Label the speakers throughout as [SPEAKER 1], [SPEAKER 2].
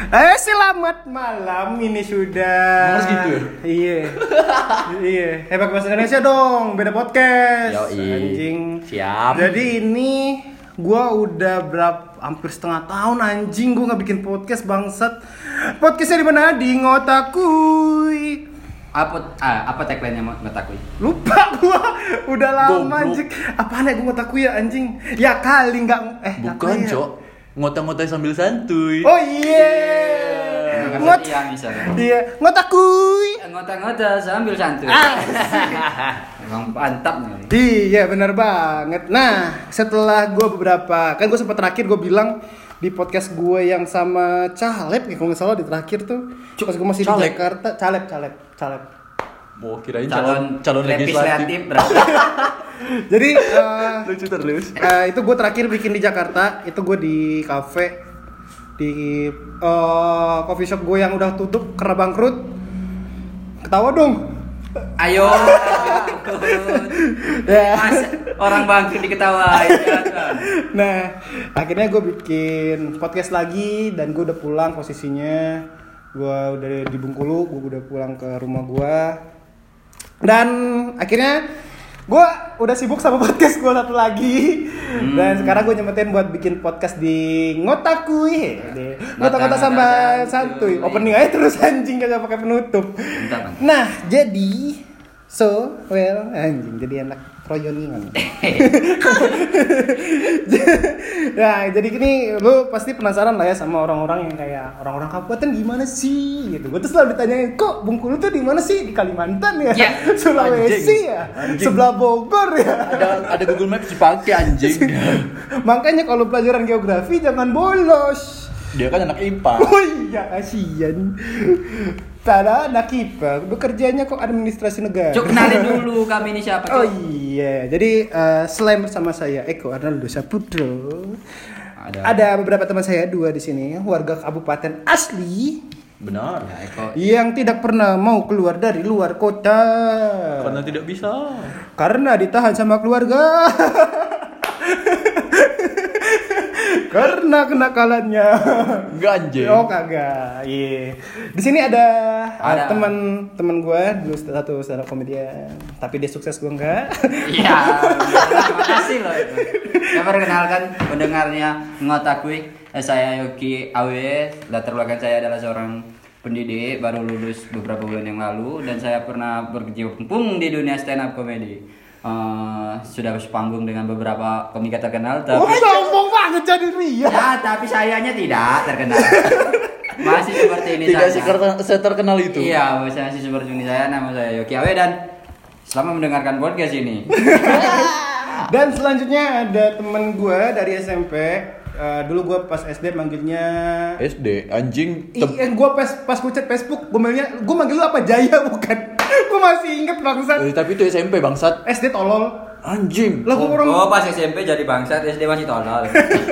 [SPEAKER 1] Eh selamat malam ini sudah.
[SPEAKER 2] Harus gitu ya?
[SPEAKER 1] Iya. iya. Hebat bahasa Indonesia dong. Beda podcast.
[SPEAKER 2] Yoi.
[SPEAKER 1] Anjing.
[SPEAKER 2] Siap.
[SPEAKER 1] Jadi ini gua udah berapa hampir setengah tahun anjing gua nggak bikin podcast bangsat. Podcastnya di mana? Di ngotakui.
[SPEAKER 3] apa ah, apa tagline nya Ngotakui?
[SPEAKER 1] Lupa gua. Udah lama
[SPEAKER 2] Goblok.
[SPEAKER 1] anjing. Apaan ya gua ngotakui ya anjing? Ya kali nggak eh
[SPEAKER 2] Bukan,
[SPEAKER 1] apa ya?
[SPEAKER 2] Cok. Ngotak-ngotak sambil santuy.
[SPEAKER 1] Oh iya.
[SPEAKER 3] Nggak
[SPEAKER 1] Ngot
[SPEAKER 3] setia misalnya.
[SPEAKER 1] Iya, ngotakui.
[SPEAKER 3] Ngotak-ngotak sambil santuy.
[SPEAKER 1] Ah.
[SPEAKER 3] Emang mantap nih.
[SPEAKER 1] Iya benar banget. Nah setelah gue beberapa kan gue sempat terakhir gue bilang di podcast gue yang sama Caleb ya kalau nggak salah di terakhir tuh pas gue masih di
[SPEAKER 2] Caleb.
[SPEAKER 1] Jakarta Caleb Caleb Caleb.
[SPEAKER 2] Mau kirain
[SPEAKER 3] Calon
[SPEAKER 2] calon calon legislatif.
[SPEAKER 3] legislatif berarti.
[SPEAKER 1] Jadi eh,
[SPEAKER 2] Lucu terus.
[SPEAKER 1] eh, itu gue terakhir bikin di Jakarta itu gue di cafe di eh, coffee shop gue yang udah tutup karena bangkrut. Ketawa dong.
[SPEAKER 3] Ayo.
[SPEAKER 1] Ya.
[SPEAKER 3] Mas, orang bangkit diketawain. ya kan? jangan.
[SPEAKER 1] Nah, akhirnya gue bikin podcast lagi dan gue udah pulang posisinya. Gue udah di Bengkulu, gue udah pulang ke rumah gue. Dan akhirnya gue udah sibuk sama podcast gue satu lagi.
[SPEAKER 3] Hmm.
[SPEAKER 1] Dan sekarang gue nyempetin buat bikin podcast di Ngotakui. Ngotak-ngotak sampai
[SPEAKER 3] gitu.
[SPEAKER 1] santuy. Opening aja terus anjing kagak pakai penutup.
[SPEAKER 3] Bentar, Bang.
[SPEAKER 1] Nah, jadi so well anjing jadi enak proyoningan. nah, jadi gini lu pasti penasaran lah ya sama orang-orang yang kayak orang-orang kabupaten gimana sih gitu. Gue tuh selalu ditanyain, "Kok Bengkulu tuh di mana sih? Di Kalimantan ya?
[SPEAKER 3] Ya,
[SPEAKER 1] Sulawesi
[SPEAKER 2] anjing.
[SPEAKER 1] ya?
[SPEAKER 2] Anjing.
[SPEAKER 1] Sebelah Bogor ya?"
[SPEAKER 2] Ada ada Google Maps dipakai anjing.
[SPEAKER 1] Makanya kalau pelajaran geografi jangan bolos.
[SPEAKER 2] Dia kan anak IPA.
[SPEAKER 1] Oh iya, kasihan. Tada anak IPA, bekerjanya kok administrasi negara.
[SPEAKER 3] Cuk kenalin dulu kami ini siapa?
[SPEAKER 1] Oh
[SPEAKER 3] Cuk?
[SPEAKER 1] iya, jadi eh, selain bersama saya Eko Arnaldo Saputro, ada.
[SPEAKER 3] Ada.
[SPEAKER 1] beberapa teman saya dua di sini warga kabupaten asli
[SPEAKER 2] Benar.
[SPEAKER 3] Ya, Eko.
[SPEAKER 1] yang tidak pernah mau keluar dari luar kota
[SPEAKER 2] Karena tidak bisa.
[SPEAKER 1] karena ditahan sama keluarga. karena kenakalannya.
[SPEAKER 2] Enggak anjing.
[SPEAKER 1] Oh kagak, iya. Di sini ada,
[SPEAKER 3] Ada.
[SPEAKER 1] teman teman gue dulu satu stand up comedian, tapi dia sukses gue enggak.
[SPEAKER 3] Iya. Terima kasih loh itu. Ya perkenalkan pendengarnya Ngotakui. Eh, Saya Yogi Awe. Latar belakang saya adalah seorang pendidik baru lulus beberapa bulan yang lalu dan saya pernah berkecimpung di dunia stand up comedy. Eh, sudah sepanggung dengan beberapa komika terkenal
[SPEAKER 1] Wah,
[SPEAKER 3] tapi
[SPEAKER 1] sombong banget jadi Ria.
[SPEAKER 3] ya tapi sayanya tidak terkenal. Masih seperti ini
[SPEAKER 2] Tidak
[SPEAKER 3] saja.
[SPEAKER 2] sih karena saya terkenal itu.
[SPEAKER 3] Iya, masih masih seperti ini saya nama saya Yogi Awe dan selamat mendengarkan podcast ini.
[SPEAKER 1] Dan selanjutnya ada temen gue dari SMP. Eh, dulu gue pas SD manggilnya
[SPEAKER 2] SD anjing
[SPEAKER 1] Ih,
[SPEAKER 2] tep-
[SPEAKER 1] eh, gue pas pas gue chat Facebook gue manggilnya gue manggil lu apa Jaya bukan? gue masih inget bangsat.
[SPEAKER 2] Eh, tapi itu SMP bangsat.
[SPEAKER 1] SD tolol.
[SPEAKER 2] Anjing.
[SPEAKER 1] Lah gue
[SPEAKER 3] Oh,
[SPEAKER 1] orang
[SPEAKER 3] oh, pas SMP jadi bangsat, SD masih tolol.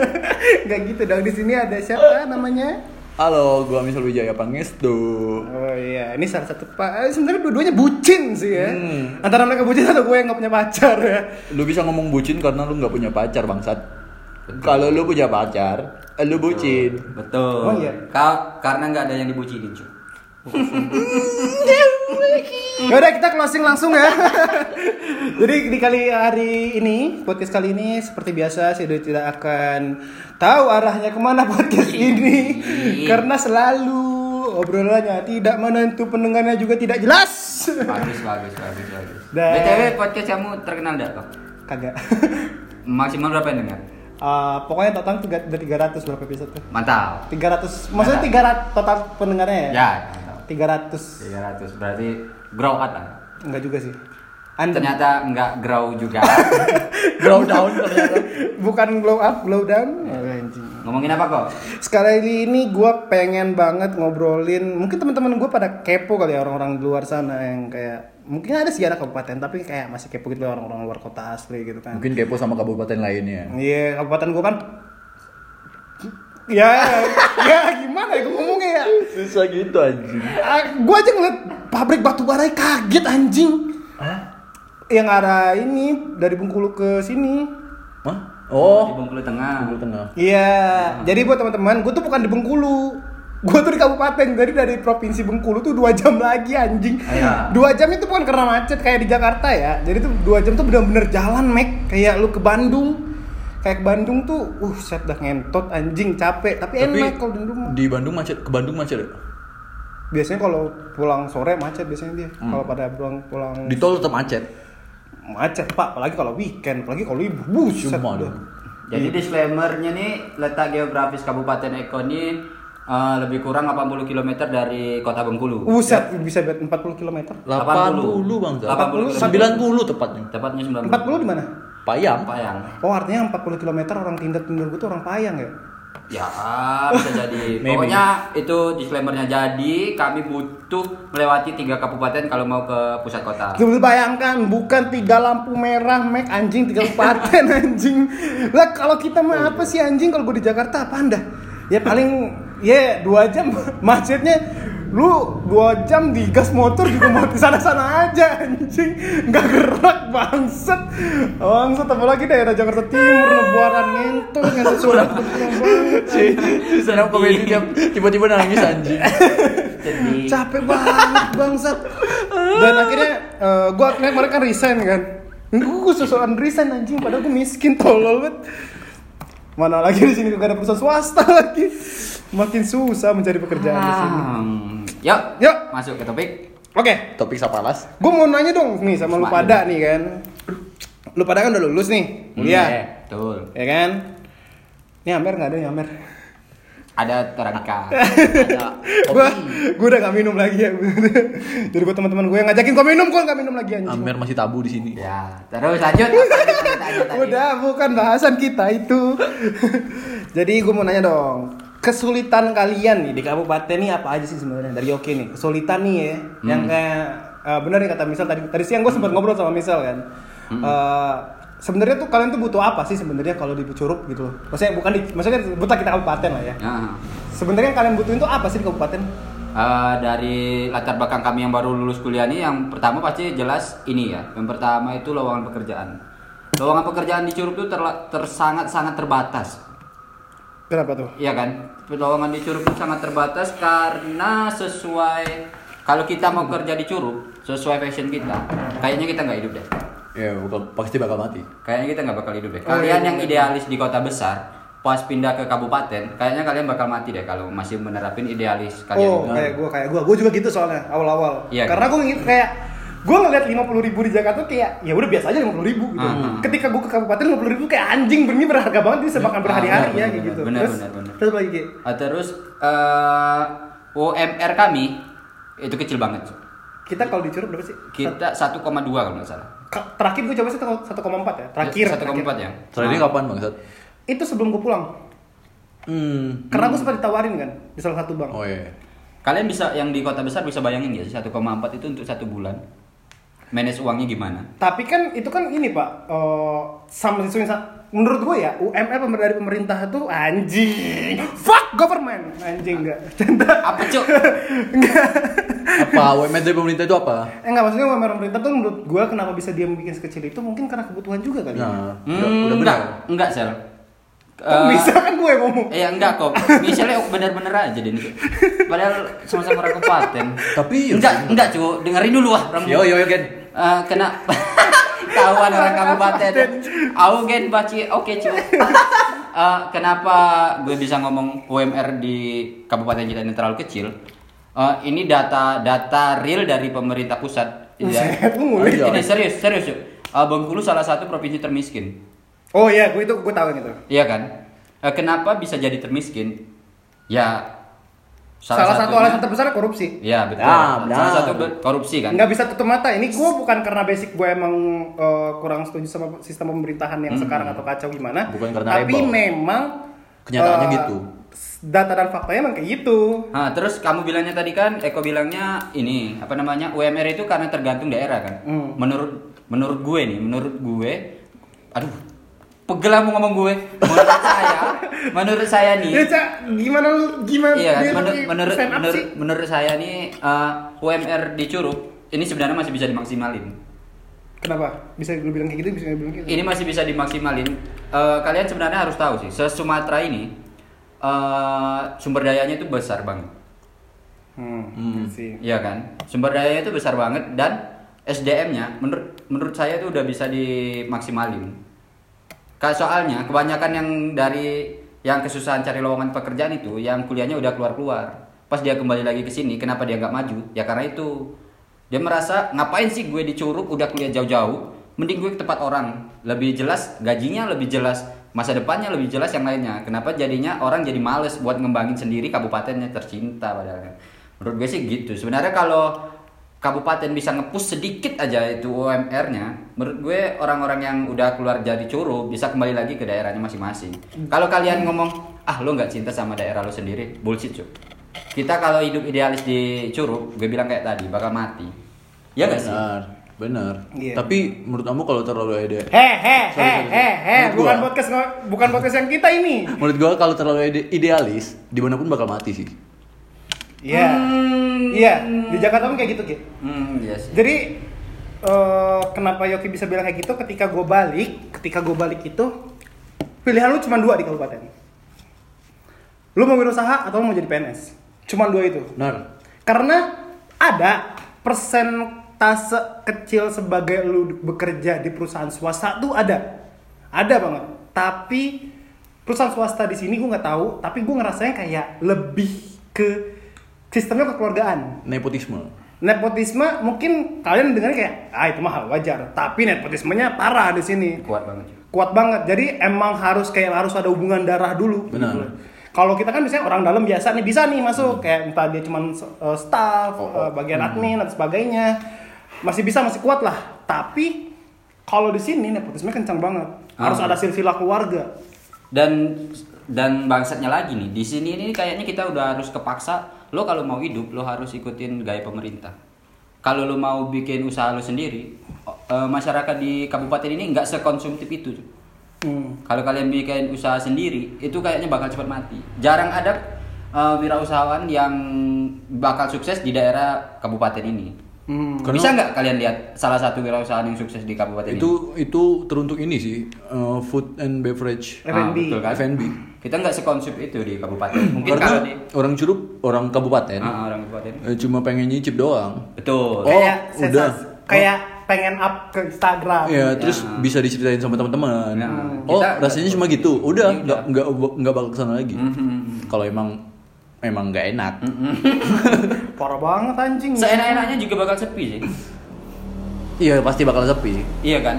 [SPEAKER 1] nggak gitu dong. Di sini ada siapa namanya?
[SPEAKER 2] Halo, gua Misal Wijaya Pangestu.
[SPEAKER 1] Oh iya, ini salah satu pak. eh, Sebenarnya dua-duanya bucin sih ya.
[SPEAKER 2] Hmm.
[SPEAKER 1] Antara mereka bucin atau gue yang nggak punya pacar ya.
[SPEAKER 2] Lu bisa ngomong bucin karena lu nggak punya pacar bangsat. Kalau lu punya pacar, eh, lu bucin.
[SPEAKER 3] Betul.
[SPEAKER 1] Oh, iya.
[SPEAKER 3] Ka- karena nggak ada yang dibucinin, cuy.
[SPEAKER 1] Yaudah Ya kita closing langsung ya. Jadi di kali hari ini podcast kali ini seperti biasa si Doi tidak akan tahu arahnya kemana podcast ini karena selalu obrolannya tidak menentu pendengarnya juga tidak jelas.
[SPEAKER 3] Bagus, bagus, bagus, bagus.
[SPEAKER 1] Dan-
[SPEAKER 3] BTW podcast kamu terkenal enggak, Bang?
[SPEAKER 1] Kagak.
[SPEAKER 3] Maksimal berapa yang dengar?
[SPEAKER 1] Ah, pokoknya total tiga, udah 300 berapa episode tuh?
[SPEAKER 3] Mantap.
[SPEAKER 1] 300 maksudnya 300 total pendengarnya ya?
[SPEAKER 3] Ya, mantap.
[SPEAKER 1] 300
[SPEAKER 3] 300 berarti grow up lah.
[SPEAKER 1] enggak juga sih. Anda
[SPEAKER 3] Ternyata nggak grow juga.
[SPEAKER 2] Grow down ternyata.
[SPEAKER 1] bukan glow up, glow down. Oh, anjing.
[SPEAKER 3] Ngomongin apa kok?
[SPEAKER 1] Sekali ini gue pengen banget ngobrolin mungkin teman-teman gue pada kepo kali ya orang-orang di luar sana yang kayak mungkin ada sejarah kabupaten tapi kayak masih kepo gitu loh orang-orang luar kota asli gitu kan.
[SPEAKER 2] Mungkin kepo sama kabupaten lainnya.
[SPEAKER 1] Iya kabupaten gue kan ya ya gimana ya gue ngomongnya ya
[SPEAKER 2] Susah gitu anjing.
[SPEAKER 1] gue aja ngeliat pabrik batu barai kaget anjing yang arah ini dari Bengkulu ke sini
[SPEAKER 2] Hah? Oh,
[SPEAKER 3] Di Bengkulu Tengah.
[SPEAKER 2] Bengkulu Tengah.
[SPEAKER 1] Iya, jadi buat teman-teman, gue tuh bukan di Bengkulu. Gue tuh di kabupaten, jadi dari provinsi Bengkulu tuh dua jam lagi anjing.
[SPEAKER 3] Iya.
[SPEAKER 1] Dua jam itu bukan karena macet kayak di Jakarta ya. Jadi tuh dua jam tuh bener-bener jalan, Mek. Kayak lu ke Bandung. Kayak ke Bandung tuh, uh, set dah ngentot anjing, capek. Tapi,
[SPEAKER 2] Tapi
[SPEAKER 1] enak kalau di Bandung.
[SPEAKER 2] di Bandung macet, ke Bandung macet. ya?
[SPEAKER 1] Biasanya kalau pulang sore macet biasanya dia. Kalau pada pulang pulang
[SPEAKER 2] Hmm. Di tol tetap macet.
[SPEAKER 1] macet, Pak. Apalagi kalau weekend, apalagi kalau ibu. Buset.
[SPEAKER 2] Cuma
[SPEAKER 1] dah.
[SPEAKER 2] dong.
[SPEAKER 1] Iya.
[SPEAKER 3] Jadi disclaimernya nih letak geografis Kabupaten Eko ini eh, lebih kurang 80 km dari Kota Bengkulu.
[SPEAKER 1] Buset, bisa bet 40 km.
[SPEAKER 3] 80,
[SPEAKER 2] 80, Bang.
[SPEAKER 3] 80.
[SPEAKER 2] 90 tepatnya.
[SPEAKER 3] Tepatnya
[SPEAKER 1] 40
[SPEAKER 3] 90.
[SPEAKER 1] di mana?
[SPEAKER 2] Payam.
[SPEAKER 3] Payang.
[SPEAKER 1] Oh, artinya 40 km orang tindak menurut gue tuh orang payang ya.
[SPEAKER 3] Ya bisa jadi.
[SPEAKER 2] Maybe.
[SPEAKER 3] Pokoknya itu disclaimernya. Jadi kami butuh melewati tiga kabupaten kalau mau ke pusat kota.
[SPEAKER 1] Coba bayangkan, bukan tiga lampu merah, Mac anjing tiga kabupaten anjing. Lah kalau kita mah apa sih anjing kalau gue di Jakarta apa anda? Ya paling ya dua jam macetnya lu dua jam di gas motor juga mau di sana sana aja anjing nggak gerak bangset bangset tambah lagi daerah Jakarta Timur lebaran ngentot ngentot suara
[SPEAKER 2] Si, si stand up comedy dia Iya. tiba-tiba nangis anjing.
[SPEAKER 3] Jadi
[SPEAKER 1] capek banget bangsat dan akhirnya eh, gua akhirnya kemarin kan resign kan gue kesusahan resign anjing padahal gue miskin tolol banget mana lagi di sini gak ada perusahaan swasta lagi makin susah mencari pekerjaan di sini
[SPEAKER 3] Hmm. Yuk,
[SPEAKER 1] Yuk.
[SPEAKER 3] masuk ke topik.
[SPEAKER 1] oke
[SPEAKER 2] Topik sapalas.
[SPEAKER 1] gue mau nanya dong nih sama lu
[SPEAKER 3] Sama
[SPEAKER 1] pada nih kan lu pada kan udah lulus nih
[SPEAKER 3] Iya,
[SPEAKER 1] kuliah
[SPEAKER 3] Betul.
[SPEAKER 1] ya kan ini Amer nggak ada nih Amer
[SPEAKER 3] Ada terangka. ada
[SPEAKER 1] gue
[SPEAKER 3] kopi.
[SPEAKER 1] gue udah gak minum lagi ya jadi buat teman-teman gue yang ngajakin gue minum gue gak minum lagi anjing
[SPEAKER 2] Amer masih tabu di sini.
[SPEAKER 1] Iya.
[SPEAKER 3] Ya, terus lanjut. Apa yang ditanya tadi?
[SPEAKER 1] Udah bukan bahasan kita itu. Jadi gue mau nanya dong, kesulitan kalian nih di kabupaten nih apa aja sih sebenarnya dari Yoki nih? Kesulitan nih ya, yang kayak eh, bener nih kata misal tadi tadi siang gue sempat ngobrol sama misal kan. Eh, sebenarnya tuh kalian tuh butuh apa sih sebenarnya kalau di Curug gitu loh? Maksudnya bukan di, maksudnya buta kita kabupaten lah ya.
[SPEAKER 3] Nah,
[SPEAKER 1] Sebenarnya yang kalian butuhin tuh apa sih di kabupaten?
[SPEAKER 3] eh, dari latar belakang kami yang baru lulus kuliah ini yang pertama pasti jelas ini ya. Yang pertama itu lowongan pekerjaan. Lowongan pekerjaan di Curug itu terla- tersangat-sangat terbatas.
[SPEAKER 1] Kenapa tuh?
[SPEAKER 3] Iya kan? Lowongan di Curug itu sangat terbatas karena sesuai kalau kita mau kerja di Curug sesuai passion kita, kayaknya kita nggak hidup deh.
[SPEAKER 2] Ya, bakal- pasti bakal mati.
[SPEAKER 3] Kayaknya kita nggak bakal hidup deh.
[SPEAKER 1] Oh, iya,
[SPEAKER 3] Kalian
[SPEAKER 1] iya,
[SPEAKER 3] yang idealis di kota besar, pas pindah ke kabupaten, kayaknya kalian bakal mati deh kalau masih menerapin idealis
[SPEAKER 1] Oh,
[SPEAKER 3] kalian.
[SPEAKER 1] kayak gue, kayak gue, gue juga gitu soalnya awal-awal.
[SPEAKER 3] Iya,
[SPEAKER 1] Karena gue ngikut kayak gue ngeliat lima puluh ribu di Jakarta kayak ya udah biasa aja lima puluh ribu gitu.
[SPEAKER 3] Ah.
[SPEAKER 1] Ketika gue ke kabupaten lima puluh ribu kayak anjing benih berharga banget bisa makan berhari-hari
[SPEAKER 3] benar,
[SPEAKER 1] ya
[SPEAKER 3] benar,
[SPEAKER 1] kayak gitu.
[SPEAKER 3] benar,
[SPEAKER 1] terus,
[SPEAKER 3] benar, benar.
[SPEAKER 1] terus lagi kayak
[SPEAKER 3] Ah, terus eh UMR kami itu kecil banget.
[SPEAKER 1] kita kalau dicurug berapa sih?
[SPEAKER 3] Kita 1,2 kalau nggak salah.
[SPEAKER 1] Ka- Terakhir gue coba sih satu koma empat ya. Terakhir.
[SPEAKER 3] 1,4 ya.
[SPEAKER 2] Terakhir kapan bangsat?
[SPEAKER 1] terakhir. Itu sebelum gue pulang.
[SPEAKER 2] Hmm.
[SPEAKER 1] Karena gue sempat ditawarin kan di salah satu bank.
[SPEAKER 2] Oh iya.
[SPEAKER 3] Kalian bisa yang di kota besar bisa bayangin nggak sih 1,4 itu untuk satu bulan. Manage uangnya gimana?
[SPEAKER 1] Tapi kan itu kan ini pak, eh, sama sesuai sa- menurut gue ya UMR pemer- dari pemerintah itu anjing, fuck government, anjing enggak, canda,
[SPEAKER 3] Apa cuk?
[SPEAKER 1] enggak,
[SPEAKER 2] Apa UMR dari pemerintah itu apa?
[SPEAKER 1] eh, enggak maksudnya UMR pemerintah tuh menurut gue kenapa bisa dia bikin sekecil itu mungkin karena kebutuhan juga kali. ya.
[SPEAKER 2] Nah, udah,
[SPEAKER 3] Hmm,
[SPEAKER 2] udah benar.
[SPEAKER 3] enggak, enggak, Sel.
[SPEAKER 1] Kok
[SPEAKER 3] Eh,
[SPEAKER 1] bisa kan gue yang ngomong,
[SPEAKER 3] Eh enggak kok, misalnya bener-bener aja deh nih. Padahal sama-sama orang kabupaten.
[SPEAKER 2] Tapi- iya
[SPEAKER 3] enggak enggak cuy, dengerin dulu ah. Orang-
[SPEAKER 2] Yo yo yo Gen.
[SPEAKER 3] Eh, kena kawan orang kabupaten. Aku gen baci, oke cuy. Eh, kenapa gue bisa ngomong UMR di kabupaten kita ini terlalu kecil? Eh, ini data data real dari pemerintah pusat. Iya.
[SPEAKER 1] Buset,
[SPEAKER 3] Oh,
[SPEAKER 1] lu ngulik.
[SPEAKER 3] Ini serius serius cuy. Eh, Bengkulu salah satu provinsi termiskin.
[SPEAKER 1] oh iya gue itu gue tahu yang itu,
[SPEAKER 3] Iya kan? Eh, kenapa bisa jadi termiskin? Ya
[SPEAKER 1] salah, satu
[SPEAKER 3] satunya-
[SPEAKER 1] alasan terbesar korupsi,
[SPEAKER 3] Iya betul.
[SPEAKER 2] Ya, benar.
[SPEAKER 3] salah satu be- korupsi kan.
[SPEAKER 1] nggak bisa tutup mata, ini gue bukan karena basic gue emang eh, kurang setuju sama sistem pemerintahan yang sekarang atau kacau gimana,
[SPEAKER 2] Hmm. Bukan karena
[SPEAKER 1] tapi
[SPEAKER 2] rebel.
[SPEAKER 1] memang
[SPEAKER 2] Kenyataannya
[SPEAKER 1] eh,
[SPEAKER 2] gitu.
[SPEAKER 1] data dan faktanya emang kayak gitu
[SPEAKER 3] Nah, terus kamu bilangnya tadi kan Eko bilangnya ini apa namanya UMR itu karena tergantung daerah kan.
[SPEAKER 1] Hmm.
[SPEAKER 3] Menurut menurut gue nih, menurut gue aduh pegel lah mau ngomong gue. Menurut saya, menurut saya nih
[SPEAKER 1] Ya, Cak, gimana lu gimana
[SPEAKER 3] Iya,
[SPEAKER 1] dia
[SPEAKER 3] menur-
[SPEAKER 1] lagi
[SPEAKER 3] menurut
[SPEAKER 1] stand up
[SPEAKER 3] menurut
[SPEAKER 1] sih?
[SPEAKER 3] menurut saya nih eh, UMR di Curug ini sebenarnya masih bisa dimaksimalin.
[SPEAKER 1] Kenapa? Bisa lu bilang kayak gitu, bisa lu bilang kayak gitu.
[SPEAKER 3] ini masih bisa dimaksimalin. Eh, kalian sebenarnya harus tahu sih, se Sumatera ini eh, sumber dayanya itu besar banget.
[SPEAKER 1] Hmm, sih.
[SPEAKER 3] Iya kan? Sumber dayanya itu besar banget dan SDM-nya menurut menurut saya itu udah bisa dimaksimalin. Kak soalnya kebanyakan yang dari yang kesusahan cari lowongan pekerjaan itu yang kuliahnya udah keluar-keluar. Pas dia kembali lagi ke sini, kenapa dia nggak maju? Ya karena itu. Dia merasa ngapain sih gue dicuruk udah kuliah jauh-jauh, mending gue ke tempat orang. Lebih jelas gajinya, lebih jelas masa depannya, lebih jelas yang lainnya. Kenapa jadinya orang jadi males buat ngembangin sendiri kabupatennya tercinta padahal. Menurut gue sih gitu. Sebenarnya kalau kabupaten bisa ngepush sedikit aja itu UMR-nya, menurut gue orang-orang yang udah keluar jadi curu bisa kembali lagi ke daerahnya masing-masing. Kalau kalian ngomong, ah lo nggak cinta sama daerah lo sendiri, bullshit cuy. Kita kalau hidup idealis di Curug, gue bilang kayak tadi, bakal mati.
[SPEAKER 2] Iya
[SPEAKER 3] Ya nggak sih?
[SPEAKER 2] Benar, benar.
[SPEAKER 1] Iya.
[SPEAKER 2] Tapi menurut kamu kalau terlalu
[SPEAKER 1] Heh,
[SPEAKER 2] ide,
[SPEAKER 1] heh, heh,
[SPEAKER 2] Sorry, sorry,
[SPEAKER 1] heh, heh,
[SPEAKER 2] sorry.
[SPEAKER 1] bukan
[SPEAKER 2] Gua.
[SPEAKER 1] podcast ngo- bukan podcast yang kita ini.
[SPEAKER 2] menurut gua kalau terlalu ide- idealis, dimanapun bakal mati sih.
[SPEAKER 1] Iya.
[SPEAKER 2] Hmm.
[SPEAKER 1] Iya, di Jakarta pun kayak gitu, Ki.
[SPEAKER 3] Hmm, iya sih.
[SPEAKER 1] Jadi eh, kenapa Yoki bisa bilang kayak gitu ketika gue balik, ketika gue balik itu pilihan lu cuma dua di kabupaten. Lu mau berusaha atau lu mau jadi PNS. Cuma dua itu.
[SPEAKER 2] Benar.
[SPEAKER 1] Karena ada persentase kecil sebagai lu bekerja di perusahaan swasta tuh ada. Ada banget. Tapi perusahaan swasta di sini gue nggak tahu, tapi gue ngerasanya kayak lebih ke sistemnya kekeluargaan
[SPEAKER 2] Nepotisme.
[SPEAKER 1] nepotisme mungkin kalian dengar kayak ah itu mah hal wajar tapi nepotismenya parah di sini
[SPEAKER 3] Kuat banget. cuy.
[SPEAKER 1] kuat banget jadi emang harus kayak harus ada hubungan darah dulu
[SPEAKER 2] Benar. Hmm.
[SPEAKER 1] Gitu. kalau kita kan biasanya orang dalam biasa nih bisa nih masuk kayak entah dia cuman eh, staff
[SPEAKER 2] Oh,
[SPEAKER 1] eh, bagian admin dan sebagainya masih bisa masih kuat lah tapi kalau di sini nepotisme kencang banget
[SPEAKER 2] Ah.
[SPEAKER 1] harus ada silsilah keluarga
[SPEAKER 3] Dan dan bangsatnya lagi nih, di sini ini kayaknya kita udah harus kepaksa. Lo kalau mau hidup, lo harus ikutin gaya pemerintah. Kalau lo mau bikin usaha lo sendiri, o- eh, masyarakat di kabupaten ini nggak sekonsumtif itu. cuy.
[SPEAKER 1] Hmm.
[SPEAKER 3] Kalau kalian bikin usaha sendiri, itu kayaknya bakal cepat mati. Jarang ada eh, wirausahawan yang bakal sukses di daerah kabupaten ini.
[SPEAKER 1] Hmm.
[SPEAKER 2] Karena-
[SPEAKER 3] Bisa nggak kalian lihat salah satu wirausahawan yang sukses di kabupaten ini?
[SPEAKER 2] Itu itu teruntuk ini sih, eh, food and beverage.
[SPEAKER 3] Ah,
[SPEAKER 1] F&B.
[SPEAKER 3] betul kan?
[SPEAKER 2] F&B.
[SPEAKER 3] Kita nggak sekonsumtif itu di kabupaten. Mungkin kalau
[SPEAKER 2] Karena
[SPEAKER 3] di
[SPEAKER 2] orang Curug, orang kabupaten,
[SPEAKER 3] Ah, ah, orang kabupaten.
[SPEAKER 2] eh, cuma pengen nyicip doang.
[SPEAKER 3] Betul.
[SPEAKER 2] Oh,
[SPEAKER 1] kayak
[SPEAKER 2] udah.
[SPEAKER 1] sensas- kayak pengen up ke Instagram
[SPEAKER 2] Ya, terus bisa diceritain sama teman-teman.
[SPEAKER 3] Ya.
[SPEAKER 2] Oh,
[SPEAKER 3] Kita-
[SPEAKER 2] rasanya cuma gitu. Udah,
[SPEAKER 3] Iya, Hmm,
[SPEAKER 2] nggak nggak nggak bakal kesana lagi. Kalau emang emang nggak enak.
[SPEAKER 1] parah banget anjing
[SPEAKER 3] Seenak-enaknya juga bakal sepi sih.
[SPEAKER 2] Iya, pasti bakal sepi.
[SPEAKER 3] iya kan?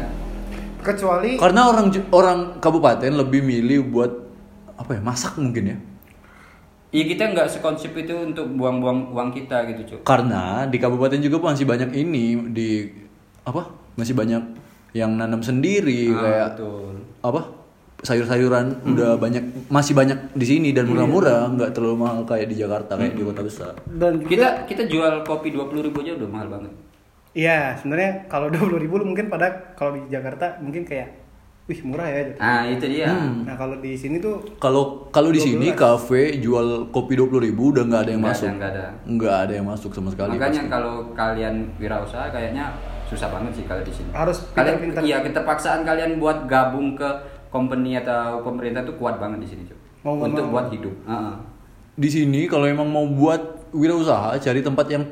[SPEAKER 1] kecuali
[SPEAKER 2] Karena orang orang kabupaten lebih milih buat apa ya masak mungkin ya.
[SPEAKER 3] Iya kita nggak sekonsep itu untuk buang-buang uang kita gitu cuy.
[SPEAKER 2] Karena di kabupaten juga masih banyak ini di apa masih banyak yang nanam
[SPEAKER 3] Ah,
[SPEAKER 2] sendiri Iya,
[SPEAKER 3] Hmm.
[SPEAKER 2] kayak
[SPEAKER 3] betul.
[SPEAKER 2] apa sayur-sayuran udah banyak masih banyak di sini
[SPEAKER 3] Iya.
[SPEAKER 2] dan murah-murah nggak terlalu mahal kayak di Jakarta
[SPEAKER 3] Hmm.
[SPEAKER 2] kayak di kota besar.
[SPEAKER 1] dan juga
[SPEAKER 3] Kita kita jual kopi dua puluh ribu aja udah mahal banget.
[SPEAKER 1] Iya, sebenarnya kalau dua puluh ribu mungkin pada kalau di Jakarta mungkin kayak, wih murah ya. gitu.
[SPEAKER 3] Ah itu dia.
[SPEAKER 2] Hmm,
[SPEAKER 1] Nah kalau di sini tuh
[SPEAKER 2] Kalau kalau di sini
[SPEAKER 1] 12.
[SPEAKER 2] kafe jual kopi dua puluh ribu udah nggak ada yang
[SPEAKER 3] Nggak
[SPEAKER 2] masuk,
[SPEAKER 3] ada, nggak ada.
[SPEAKER 2] nggak ada yang masuk sama sekali.
[SPEAKER 3] Makanya
[SPEAKER 2] pasti.
[SPEAKER 3] kalau kalian wirausaha kayaknya susah banget sih kalau di sini.
[SPEAKER 1] Harus
[SPEAKER 3] kalian
[SPEAKER 1] pintar-pintar.
[SPEAKER 3] iya keterpaksaan kalian buat gabung ke company atau pemerintah tuh kuat banget di sini cuy.
[SPEAKER 1] Mau nggak
[SPEAKER 3] Untuk
[SPEAKER 1] mau.
[SPEAKER 3] buat hidup. Ah, Heeh.
[SPEAKER 2] di sini kalau emang mau buat wirausaha cari tempat yang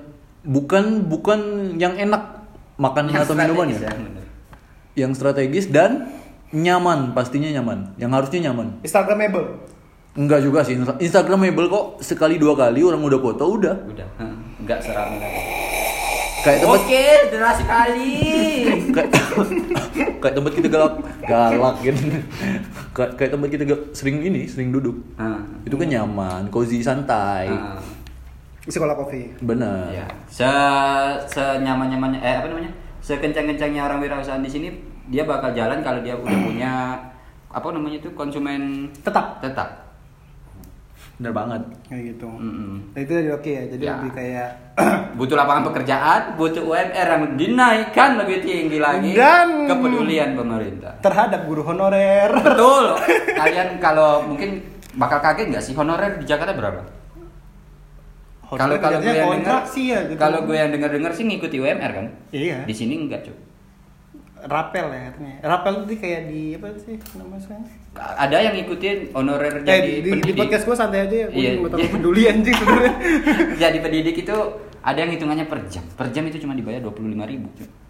[SPEAKER 2] bukan bukan yang enak makan
[SPEAKER 3] Yang
[SPEAKER 2] atau minumannya
[SPEAKER 3] strategis ya, bener.
[SPEAKER 2] yang strategis dan nyaman pastinya nyaman yang harusnya nyaman
[SPEAKER 1] Instagramable.
[SPEAKER 2] enggak juga sih Insta- Instagramable kok sekali dua kali orang udah foto udah
[SPEAKER 3] Udah. Heeh. Nggak seram lagi.
[SPEAKER 2] kayak tempat
[SPEAKER 3] Oke, jelas sekali.
[SPEAKER 2] kayak, kayak tempat kita galak galak gitu kayak, kayak tempat kita gal- sering ini sering duduk
[SPEAKER 3] Ah,
[SPEAKER 2] itu kan nyaman cozy santai
[SPEAKER 3] ah,
[SPEAKER 1] Isi kola kopi. ah.
[SPEAKER 2] bener
[SPEAKER 3] ya. Se senyaman nyamannya eh apa namanya? Sekencang-kencangnya orang wirausahaan di sini, dia bakal jalan kalau dia udah punya apa namanya itu konsumen tetap tetap.
[SPEAKER 2] bener banget
[SPEAKER 1] Kayak gitu.
[SPEAKER 3] Mm-mm.
[SPEAKER 1] Nah, itu jadi oke ya. Jadi
[SPEAKER 3] Ya.
[SPEAKER 1] lebih kayak
[SPEAKER 3] Butuh lapangan pekerjaan, butuh UMR yang dinaikkan lebih tinggi lagi
[SPEAKER 1] Dan-
[SPEAKER 3] kepedulian pemerintah.
[SPEAKER 1] terhadap guru honorer.
[SPEAKER 3] Betul. Kalian kalau mungkin bakal kaget nggak sih honorer di Jakarta berapa? Kalau
[SPEAKER 1] Honorer
[SPEAKER 3] kalau gue
[SPEAKER 1] kerjanya
[SPEAKER 3] yang dengar,
[SPEAKER 1] kontrak sih ya gitu.
[SPEAKER 3] kalau gue yang dengar dengar sih ngikuti UMR kan?
[SPEAKER 1] Iya.
[SPEAKER 3] Di sini enggak cuy.
[SPEAKER 1] rapel ya artinya. Rapel itu kayak di apa sih namanya? sekarang?
[SPEAKER 3] Ada yang ngikutin honorer
[SPEAKER 1] Eh,
[SPEAKER 3] jadi
[SPEAKER 1] di, di, di
[SPEAKER 3] pendidik.
[SPEAKER 1] podcast gua santai aja ya. Gua
[SPEAKER 3] Iya.
[SPEAKER 1] nggak terlalu peduli anjing sebenarnya.
[SPEAKER 3] jadi pendidik itu ada yang hitungannya per jam. Per jam itu cuma dibayar 25.000 ribu.